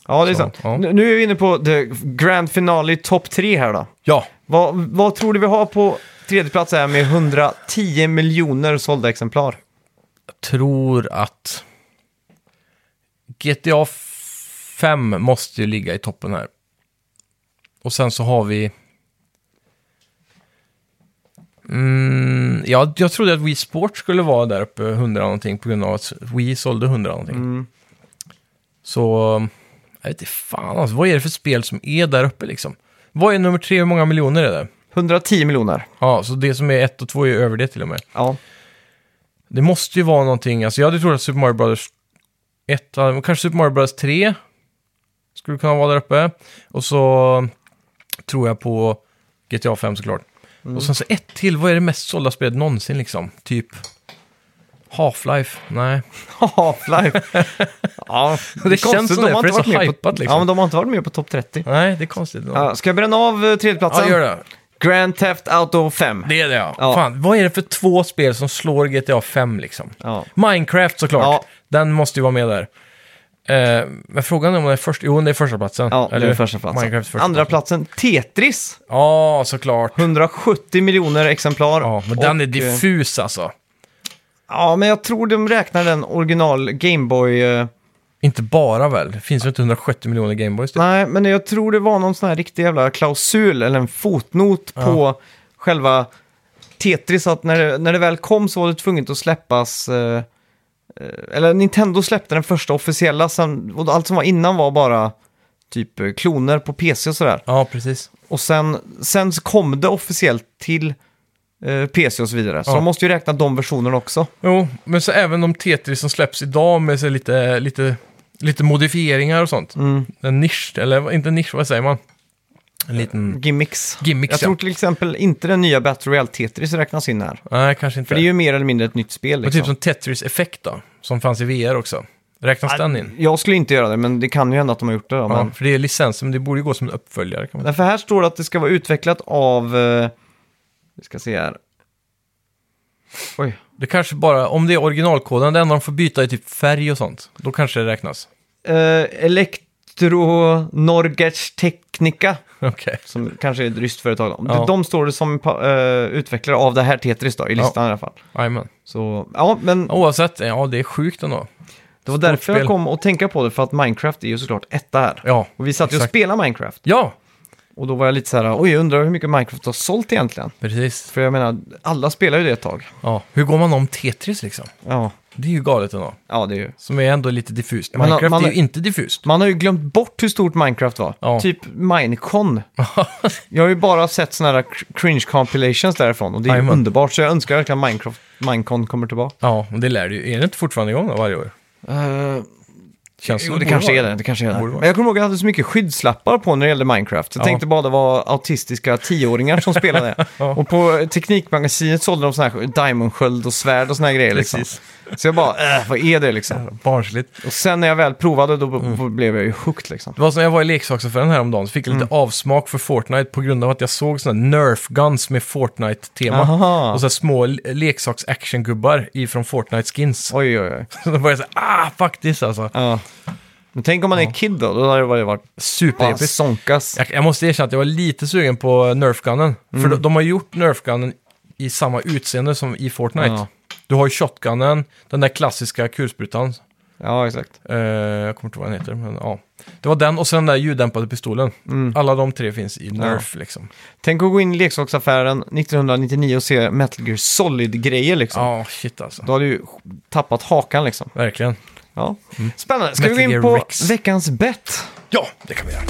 Speaker 1: Ja, det är
Speaker 2: Så,
Speaker 1: sant.
Speaker 2: ja.
Speaker 1: Nu nu är vi inne på the grand finale topp tre här då.
Speaker 2: Ja,
Speaker 1: Vad, vad tror du vi har på tredje plats här med 110 miljoner sålda exemplar?
Speaker 2: jag tror att GTA 5 måste ju ligga i toppen här. Och sen så har vi... Mm, ja, jag trodde att Wii Sport skulle vara där uppe 100 någonting på grund av att Wii sålde 100 någonting. Så, jag vet inte fan alltså, vad är det för spel som är där uppe liksom? Vad är nummer tre, hur många miljoner är det?
Speaker 1: 110 miljoner.
Speaker 2: Ja, så det som är ett och två är över det till och med.
Speaker 1: Ja,
Speaker 2: Det måste ju vara någonting, alltså jag hade trott att Super Mario Brothers 1, hade- men kanske Super Mario Brothers 3 skulle kunna vara där uppe. Och så tror jag på GTA 5 såklart.
Speaker 1: Mm.
Speaker 2: Och sen så ett till, vad är det mest sålda spelet någonsin liksom? Typ Half-Life? Nej.
Speaker 1: Half-Life. ja, det, är
Speaker 2: känns
Speaker 1: konstigt,
Speaker 2: som
Speaker 1: de
Speaker 2: det,
Speaker 1: har inte
Speaker 2: för det är
Speaker 1: varit
Speaker 2: så
Speaker 1: med
Speaker 2: hypat,
Speaker 1: på,
Speaker 2: liksom.
Speaker 1: Ja, men de har inte varit med på topp 30.
Speaker 2: Nej, det är konstigt. Ja,
Speaker 1: Ja, ska jag bränna av eh, tredjeplatsen?
Speaker 2: gör det.
Speaker 1: Grand Theft Auto 5.
Speaker 2: Det är det ja.
Speaker 1: Ja.
Speaker 2: Fan, vad är det för två spel som slår GTA 5 liksom?
Speaker 1: Ja.
Speaker 2: Minecraft såklart.
Speaker 1: Ja.
Speaker 2: Den måste ju vara med där. Eh, men frågan är om det är först... Jo, det är första platsen.
Speaker 1: Ja, det är första platsen.
Speaker 2: Minecraft första
Speaker 1: Andra
Speaker 2: platsen.
Speaker 1: platsen, Tetris.
Speaker 2: Ja, såklart.
Speaker 1: 170 miljoner exemplar.
Speaker 2: Ja, men den är
Speaker 1: Och, eh,
Speaker 2: diffus alltså.
Speaker 1: Ja, men jag tror de räknar den original Gameboy. eh,
Speaker 2: Inte bara väl? Det finns ju inte 170 miljoner Gameboys. typ.
Speaker 1: Nej, men jag tror det var någon sån här riktig jävla klausul eller en fotnot på själva Tetris. Att när det, när det väl kom så var det tvunget att släppas. eh, eh, Eller Nintendo släppte den första officiella. Sen, och allt som var innan var bara typ eh, kloner på PC och sådär.
Speaker 2: Ja, precis.
Speaker 1: Och sen, sen så kom det officiellt till eh, PC och så vidare. Så
Speaker 2: Ja.
Speaker 1: de måste ju räkna de versionerna också.
Speaker 2: Jo, men så även de Tetris som släpps idag med så lite, lite, lite modifieringar och
Speaker 1: Mm.
Speaker 2: sånt. En nisch, eller inte nisch, vad säger man? En liten...
Speaker 1: Gimmicks.
Speaker 2: Gimmicks,
Speaker 1: jag
Speaker 2: ja.
Speaker 1: tror till exempel inte den nya Battle Royale Tetris räknas in här.
Speaker 2: Nej, kanske inte.
Speaker 1: För det är ju mer eller mindre ett nytt spel.
Speaker 2: Men
Speaker 1: Liksom.
Speaker 2: typ som Tetris Effect då, som fanns i VR också. Räknas den in?
Speaker 1: Jag skulle inte göra det, men det kan ju hända att de har gjort det. Då,
Speaker 2: Ja,
Speaker 1: men...
Speaker 2: för det är licens, men det borde ju gå som en uppföljare. Kan man.
Speaker 1: Därför här står det att det ska vara utvecklat av... eh, Vi ska se här. Oj.
Speaker 2: Det kanske bara, om det är originalkoden, det enda de får byta är typ färg och sånt. Då kanske det räknas.
Speaker 1: Eh, Elektro Norgers Technica,
Speaker 2: Okej.
Speaker 1: som kanske är ett ryskt företag. då.
Speaker 2: Ja.
Speaker 1: De, de står det som pa- eh, utvecklare av det här Tetris då, i listan i alla fall.
Speaker 2: Jajamän.
Speaker 1: Så, ja, men
Speaker 2: Oavsett, ja det är sjukt ändå.
Speaker 1: Det var därför
Speaker 2: Sportspel.
Speaker 1: jag kom att tänka på det, för att Minecraft är ju såklart etta här.
Speaker 2: Ja,
Speaker 1: och vi satt ju och
Speaker 2: exakt.
Speaker 1: spelade Minecraft.
Speaker 2: Ja,
Speaker 1: Och då var jag lite så här, oj, jag undrar hur mycket Minecraft har sålt egentligen.
Speaker 2: precis.
Speaker 1: För jag menar, alla spelar ju det ett tag.
Speaker 2: Ja. Hur går man om Tetris liksom?
Speaker 1: Ja,
Speaker 2: Det är ju galet ändå.
Speaker 1: ja det är ju.
Speaker 2: Som är ändå lite diffust.
Speaker 1: man-
Speaker 2: Minecraft
Speaker 1: man-
Speaker 2: är ju inte diffust.
Speaker 1: Man har ju glömt bort hur stort Minecraft var.
Speaker 2: Ja.
Speaker 1: Typ Minecon. jag har ju bara sett såna här cr- cringe compilations därifrån och det är ju
Speaker 2: Jajamän.
Speaker 1: underbart. Så jag önskar verkligen Minecraft, Minecon kommer tillbaka.
Speaker 2: Ja, men det lär du ju. Är det inte fortfarande igång då, varje år? Eh,
Speaker 1: Uh,
Speaker 2: Känns
Speaker 1: jo,
Speaker 2: som
Speaker 1: det
Speaker 2: borde
Speaker 1: kanske
Speaker 2: vara
Speaker 1: är det. det, kanske är det.
Speaker 2: Borde vara.
Speaker 1: Men jag kommer ihåg att jag hade så mycket skyddslappar på när det gällde Minecraft. Så Jag
Speaker 2: Ja.
Speaker 1: tänkte bara det var autistiska tioåringar som spelade. Och på Teknikmagasinet sålde de såna här diamondsköld och svärd och såna här grejer. Liksom.
Speaker 2: Precis.
Speaker 1: Så jag bara, äh, vad är det liksom?
Speaker 2: Barnsligt.
Speaker 1: Och sen när jag väl provade då b-
Speaker 2: Mm.
Speaker 1: blev jag ju hooked liksom.
Speaker 2: Det var som när jag var i leksaksaffären häromdagen så fick jag lite
Speaker 1: Mm.
Speaker 2: avsmak för Fortnite på grund av att jag såg sådana Nerf guns med Fortnite-tema.
Speaker 1: Aha.
Speaker 2: Och så här små l- leksaks-actiongubbar ifrån Fortnite-skins.
Speaker 1: Oj, oj, oj.
Speaker 2: Så då var jag såhär, ah, faktiskt alltså.
Speaker 1: Ja. Men tänk om man är kid då, då hade det varit bara
Speaker 2: Superepiskt.
Speaker 1: sonkas.
Speaker 2: Jag, jag måste erkänna att jag var lite sugen på Nerf gunnen.
Speaker 1: Mm.
Speaker 2: För de, de har gjort Nerf gunnen i samma utseende som i Fortnite.
Speaker 1: Ja.
Speaker 2: Du har ju shotgunnen, den där klassiska kulsprutan.
Speaker 1: Ja, exakt.
Speaker 2: Eh, jag kommer inte ihåg vad den heter, men ja. Det var den och sen den där ljuddämpade pistolen.
Speaker 1: Mm.
Speaker 2: Alla de tre finns i Nerf liksom.
Speaker 1: Tänk att gå in i leksaksaffären 1999 och se Metal Gear Solid-grejer liksom.
Speaker 2: Ja, shit alltså.
Speaker 1: Då har du ju tappat hakan liksom.
Speaker 2: Verkligen.
Speaker 1: Ja. Spännande. Ska
Speaker 2: Metal
Speaker 1: vi gå
Speaker 2: Mm. Gear
Speaker 1: in på
Speaker 2: Rex.
Speaker 1: veckans bett?
Speaker 2: Ja, det kan vi göra.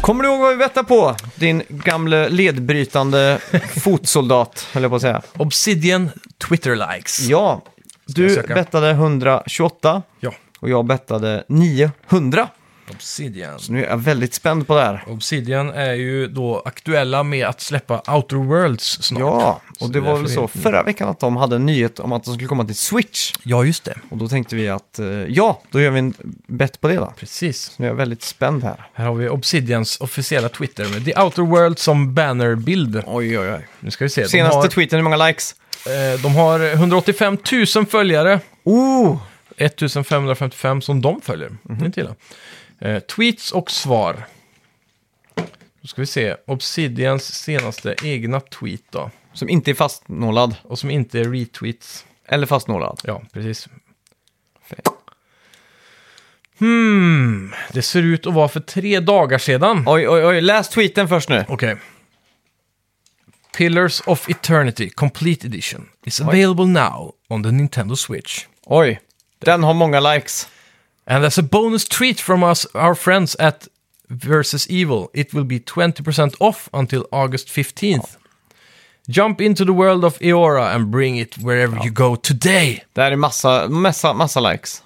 Speaker 1: Kommer du ihåg vad vi bettade på? Din gamle ledbrytande fotsoldat, höll jag på att säga.
Speaker 2: Obsidian Twitter likes.
Speaker 1: Ja,
Speaker 2: jag
Speaker 1: du
Speaker 2: söka?
Speaker 1: bettade 128
Speaker 2: ja.
Speaker 1: och jag bettade 900.
Speaker 2: Obsidian.
Speaker 1: Nu är jag väldigt spänd på det här.
Speaker 2: Obsidian är ju då aktuella med att släppa Outer Worlds snart.
Speaker 1: Ja,
Speaker 2: Så
Speaker 1: och
Speaker 2: det
Speaker 1: det var
Speaker 2: är
Speaker 1: väl
Speaker 2: därför
Speaker 1: så
Speaker 2: det-
Speaker 1: förra veckan att de hade en nyhet om att de skulle komma till Switch.
Speaker 2: Ja, just det.
Speaker 1: Och då tänkte vi att eh, ja, då gör vi en bet på det då.
Speaker 2: Precis.
Speaker 1: Nu är jag väldigt spänd här.
Speaker 2: Här har vi Obsidians officiella Twitter med The Outer World som bannerbild.
Speaker 1: Oj, oj, oj.
Speaker 2: Nu ska vi se.
Speaker 1: Senaste
Speaker 2: de,
Speaker 1: tweeten, hur många likes?
Speaker 2: har, eh, de har 185 000 följare.
Speaker 1: Oh!
Speaker 2: 1555 som de följer. Det är inte illa. Eh, tweets och svar. Då ska vi se. Obsidians senaste egna tweet då.
Speaker 1: Som inte är fastnålad.
Speaker 2: Och som inte är retweets.
Speaker 1: Eller fastnålad.
Speaker 2: Ja, precis.
Speaker 1: Fe-
Speaker 2: Hmm, det ser ut att vara för tre dagar sedan.
Speaker 1: Oj, oj, oj. Läs tweeten först nu.
Speaker 2: Okej. Pillars of Eternity Complete Edition is available now on the Nintendo Switch.
Speaker 1: Oj. Den har många likes.
Speaker 2: And as a bonus treat from us, our friends at Versus Evil, it will be 20% off until August 15th. Jump into the world of Eora and bring it wherever you go today.
Speaker 1: Det här är massa, massa, massa likes.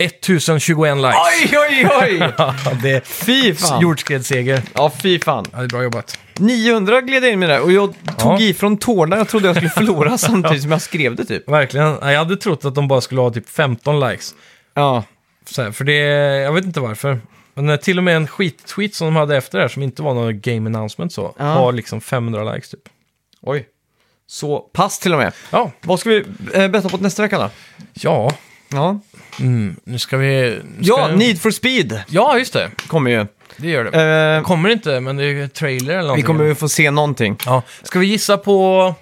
Speaker 2: 1021 likes.
Speaker 1: Oj, oj, oj!
Speaker 2: Ja, det är
Speaker 1: Fy fan!
Speaker 2: jordskredsseger.
Speaker 1: Ja, fy fan.
Speaker 2: Ja, det är bra jobbat.
Speaker 1: 900 gled jag in med det där och jag tog
Speaker 2: Ja.
Speaker 1: i från tårna. Jag trodde jag skulle förlora samtidigt som jag skrev det typ.
Speaker 2: Verkligen. Ja, Jag hade trott att de bara skulle ha typ 15 likes.
Speaker 1: Ja.
Speaker 2: Så här, för det, jag vet inte varför. Men eh, till och med en skit-tweet som de hade efter det här, som inte var någon game announcement så,
Speaker 1: Ja.
Speaker 2: har liksom 500 likes typ.
Speaker 1: Oj. Så pass till och med.
Speaker 2: Ja,
Speaker 1: Vad ska vi eh, betta på nästa vecka då?
Speaker 2: ja.
Speaker 1: Ja.
Speaker 2: Mm, nu ska vi... Nu ska
Speaker 1: Ja, Need for speed
Speaker 2: ja, just det.
Speaker 1: kommer ju.
Speaker 2: Det gör det.
Speaker 1: Eh,
Speaker 2: Kommer inte, men det är ju trailer eller
Speaker 1: vi
Speaker 2: någonting.
Speaker 1: kommer ju få se någonting.
Speaker 2: Ja. Ska vi gissa på...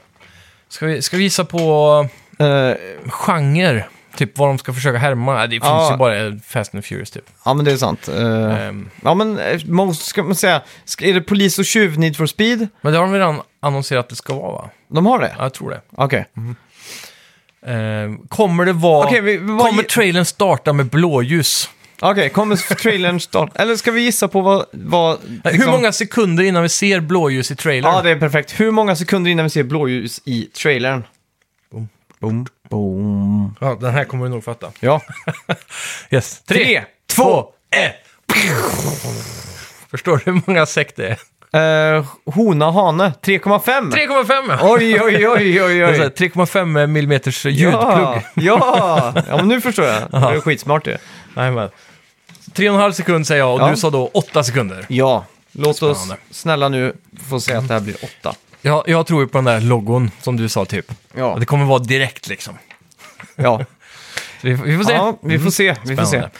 Speaker 2: Ska vi, ska vi gissa på
Speaker 1: Eh,
Speaker 2: genre? Typ vad de ska försöka härma? Nej, Det finns
Speaker 1: Ja.
Speaker 2: ju bara Fast and Furious typ.
Speaker 1: ja, men det är sant. Eh,
Speaker 2: Ehm,
Speaker 1: ja, men eh, most, ska man säga, ska, är det polis och tjuv Need for speed?
Speaker 2: men det har de redan annonserat att det ska vara va?
Speaker 1: De har det?
Speaker 2: Ja, jag tror det.
Speaker 1: Okej.
Speaker 2: Ehm, kommer det vara...
Speaker 1: Okej, vi- vad-
Speaker 2: Kommer trailern starta med blåljus?
Speaker 1: Okej, kommer trailern starta? Eller ska vi gissa på vad... vad
Speaker 2: Nej, Hur
Speaker 1: liksom-
Speaker 2: många sekunder innan vi ser blåljus i trailern?
Speaker 1: Ja, det är perfekt. Hur många sekunder innan vi ser blåljus i trailern?
Speaker 2: Boom.
Speaker 1: Boom. Boom.
Speaker 2: Ja, den här kommer du nog fatta.
Speaker 1: Ja.
Speaker 2: Yes. Tre,
Speaker 1: Tre,
Speaker 2: två, ett! Förstår du hur många säck det är?
Speaker 1: Eh, hona hane, 3,5.
Speaker 2: 3,5!
Speaker 1: Oj, oj, oj,
Speaker 2: Det
Speaker 1: oj,
Speaker 2: är så här
Speaker 1: oj.
Speaker 2: 3,5 eh, millimeters
Speaker 1: Ja,
Speaker 2: ljudplugg.
Speaker 1: ja. ja men nu förstår jag. Det är skitsmart det.
Speaker 2: Jajamän. Tre och en halv sekund säger jag och
Speaker 1: Ja.
Speaker 2: du sa då åtta sekunder.
Speaker 1: Ja, låt oss
Speaker 2: Spännande.
Speaker 1: snälla nu få säga att det här blir åtta.
Speaker 2: Jag, jag tror ju på den där logon som du sa typ.
Speaker 1: Ja.
Speaker 2: Att Det kommer vara direkt liksom.
Speaker 1: Ja,
Speaker 2: Vi, vi får se. Mm.
Speaker 1: Ja, vi får se. Vi får se.
Speaker 2: Spännande.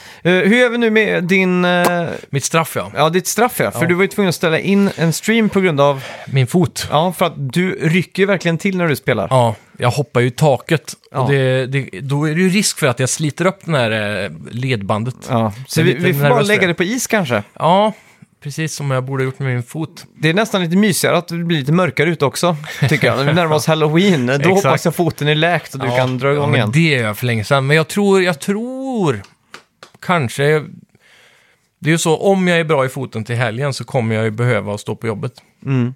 Speaker 1: Eh, hur gör vi nu med din, eh,
Speaker 2: Mitt straff ja.
Speaker 1: ja, ditt straff? Ja? För
Speaker 2: Ja.
Speaker 1: du var ju tvungen att ställa in en stream på grund av...
Speaker 2: Min fot.
Speaker 1: Ja, för att du rycker ju verkligen till när du spelar.
Speaker 2: Ja, jag hoppar ju i taket.
Speaker 1: Ja.
Speaker 2: Och det, det, då är det ju risk för att jag sliter upp det här eh, ledbandet. Ja.
Speaker 1: Ja. Så
Speaker 2: Jag är
Speaker 1: vi,
Speaker 2: lite
Speaker 1: vi får bara
Speaker 2: nervös för
Speaker 1: lägga
Speaker 2: det.
Speaker 1: det på is kanske.
Speaker 2: precis som jag borde ha gjort med min fot.
Speaker 1: Det är nästan lite mysigare att det blir lite mörkare ute också, tycker jag. När vi närmar oss halloween, då
Speaker 2: Exakt.
Speaker 1: hoppas jag foten är läkt och du
Speaker 2: Ja,
Speaker 1: kan dra
Speaker 2: ja,
Speaker 1: igång
Speaker 2: men
Speaker 1: igen.
Speaker 2: Det är jag för länge sedan. Men jag tror, jag tror, kanske... Det är ju så, om jag är bra i foten till helgen så kommer jag ju behöva stå på jobbet.
Speaker 1: Mm.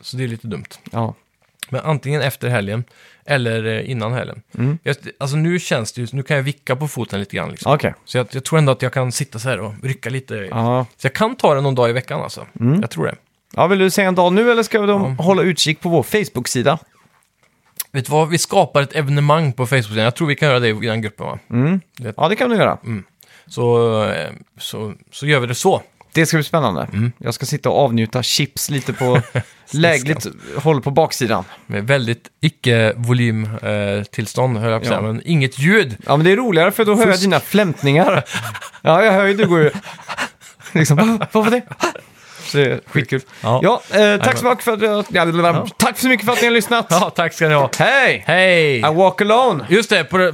Speaker 2: Så det är lite dumt.
Speaker 1: Ja.
Speaker 2: Men antingen efter helgen eller eh, innan helgen.
Speaker 1: Mm.
Speaker 2: Jag, alltså nu känns det ju, nu kan jag vicka på foten lite grann liksom.
Speaker 1: Okej.
Speaker 2: Så jag, jag tror ändå att jag kan sitta så här och rycka lite.
Speaker 1: Ja. Mm.
Speaker 2: Så jag kan ta det någon dag i veckan alltså. Jag tror det.
Speaker 1: ja, vill du säga en dag nu eller ska de hålla utkik på vår Facebook-sida?
Speaker 2: Vet du vad, vi skapar ett evenemang på Facebook. Jag tror vi kan göra det i den gruppen va?
Speaker 1: Mm. Ja, det kan du göra.
Speaker 2: Mm. Så, eh, så, så gör vi det så.
Speaker 1: Det ska bli spännande.
Speaker 2: Mm.
Speaker 1: Jag ska sitta och avnjuta chips lite på lägligt håll på baksidan.
Speaker 2: Med väldigt icke-volymtillstånd, höll jag på att
Speaker 1: Ja.
Speaker 2: säga. Men inget ljud.
Speaker 1: Ja, men det är roligare för då hör jag
Speaker 2: Fusk.
Speaker 1: dina flämtningar. Ja, jag hör ju, du går ju... Liksom, "Va- vad var det? Så det är skitkul.
Speaker 2: Ja.
Speaker 1: Ja, eh, tack, så mycket för att, ja, det- tack så mycket för att ni har lyssnat.
Speaker 2: Ja, tack ska ni ha.
Speaker 1: Hej!
Speaker 2: Hej!
Speaker 1: I walk alone!
Speaker 2: Just det, på det,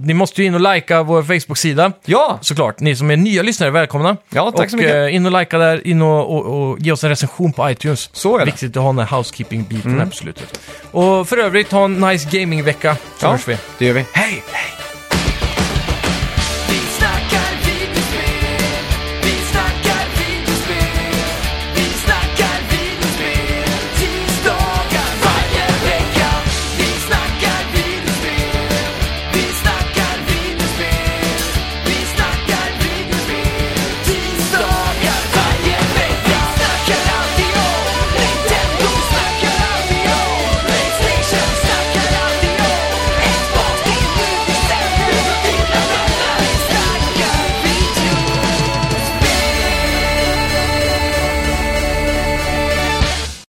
Speaker 2: ni måste ju in och likea vår Facebook-sida.
Speaker 1: Ja!
Speaker 2: Såklart, ni som är nya lyssnare, välkomna.
Speaker 1: Ja, tack
Speaker 2: och,
Speaker 1: så mycket.
Speaker 2: eh, in och likea där, in och, och, och ge oss en recension på iTunes.
Speaker 1: Så är det. Mm.
Speaker 2: Viktigt att ha den här housekeeping-biten här på slutet. Och för övrigt, ha en nice gaming-vecka. Så
Speaker 1: Ja,
Speaker 2: hörs vi.
Speaker 1: det gör vi.
Speaker 2: Hej! Hej!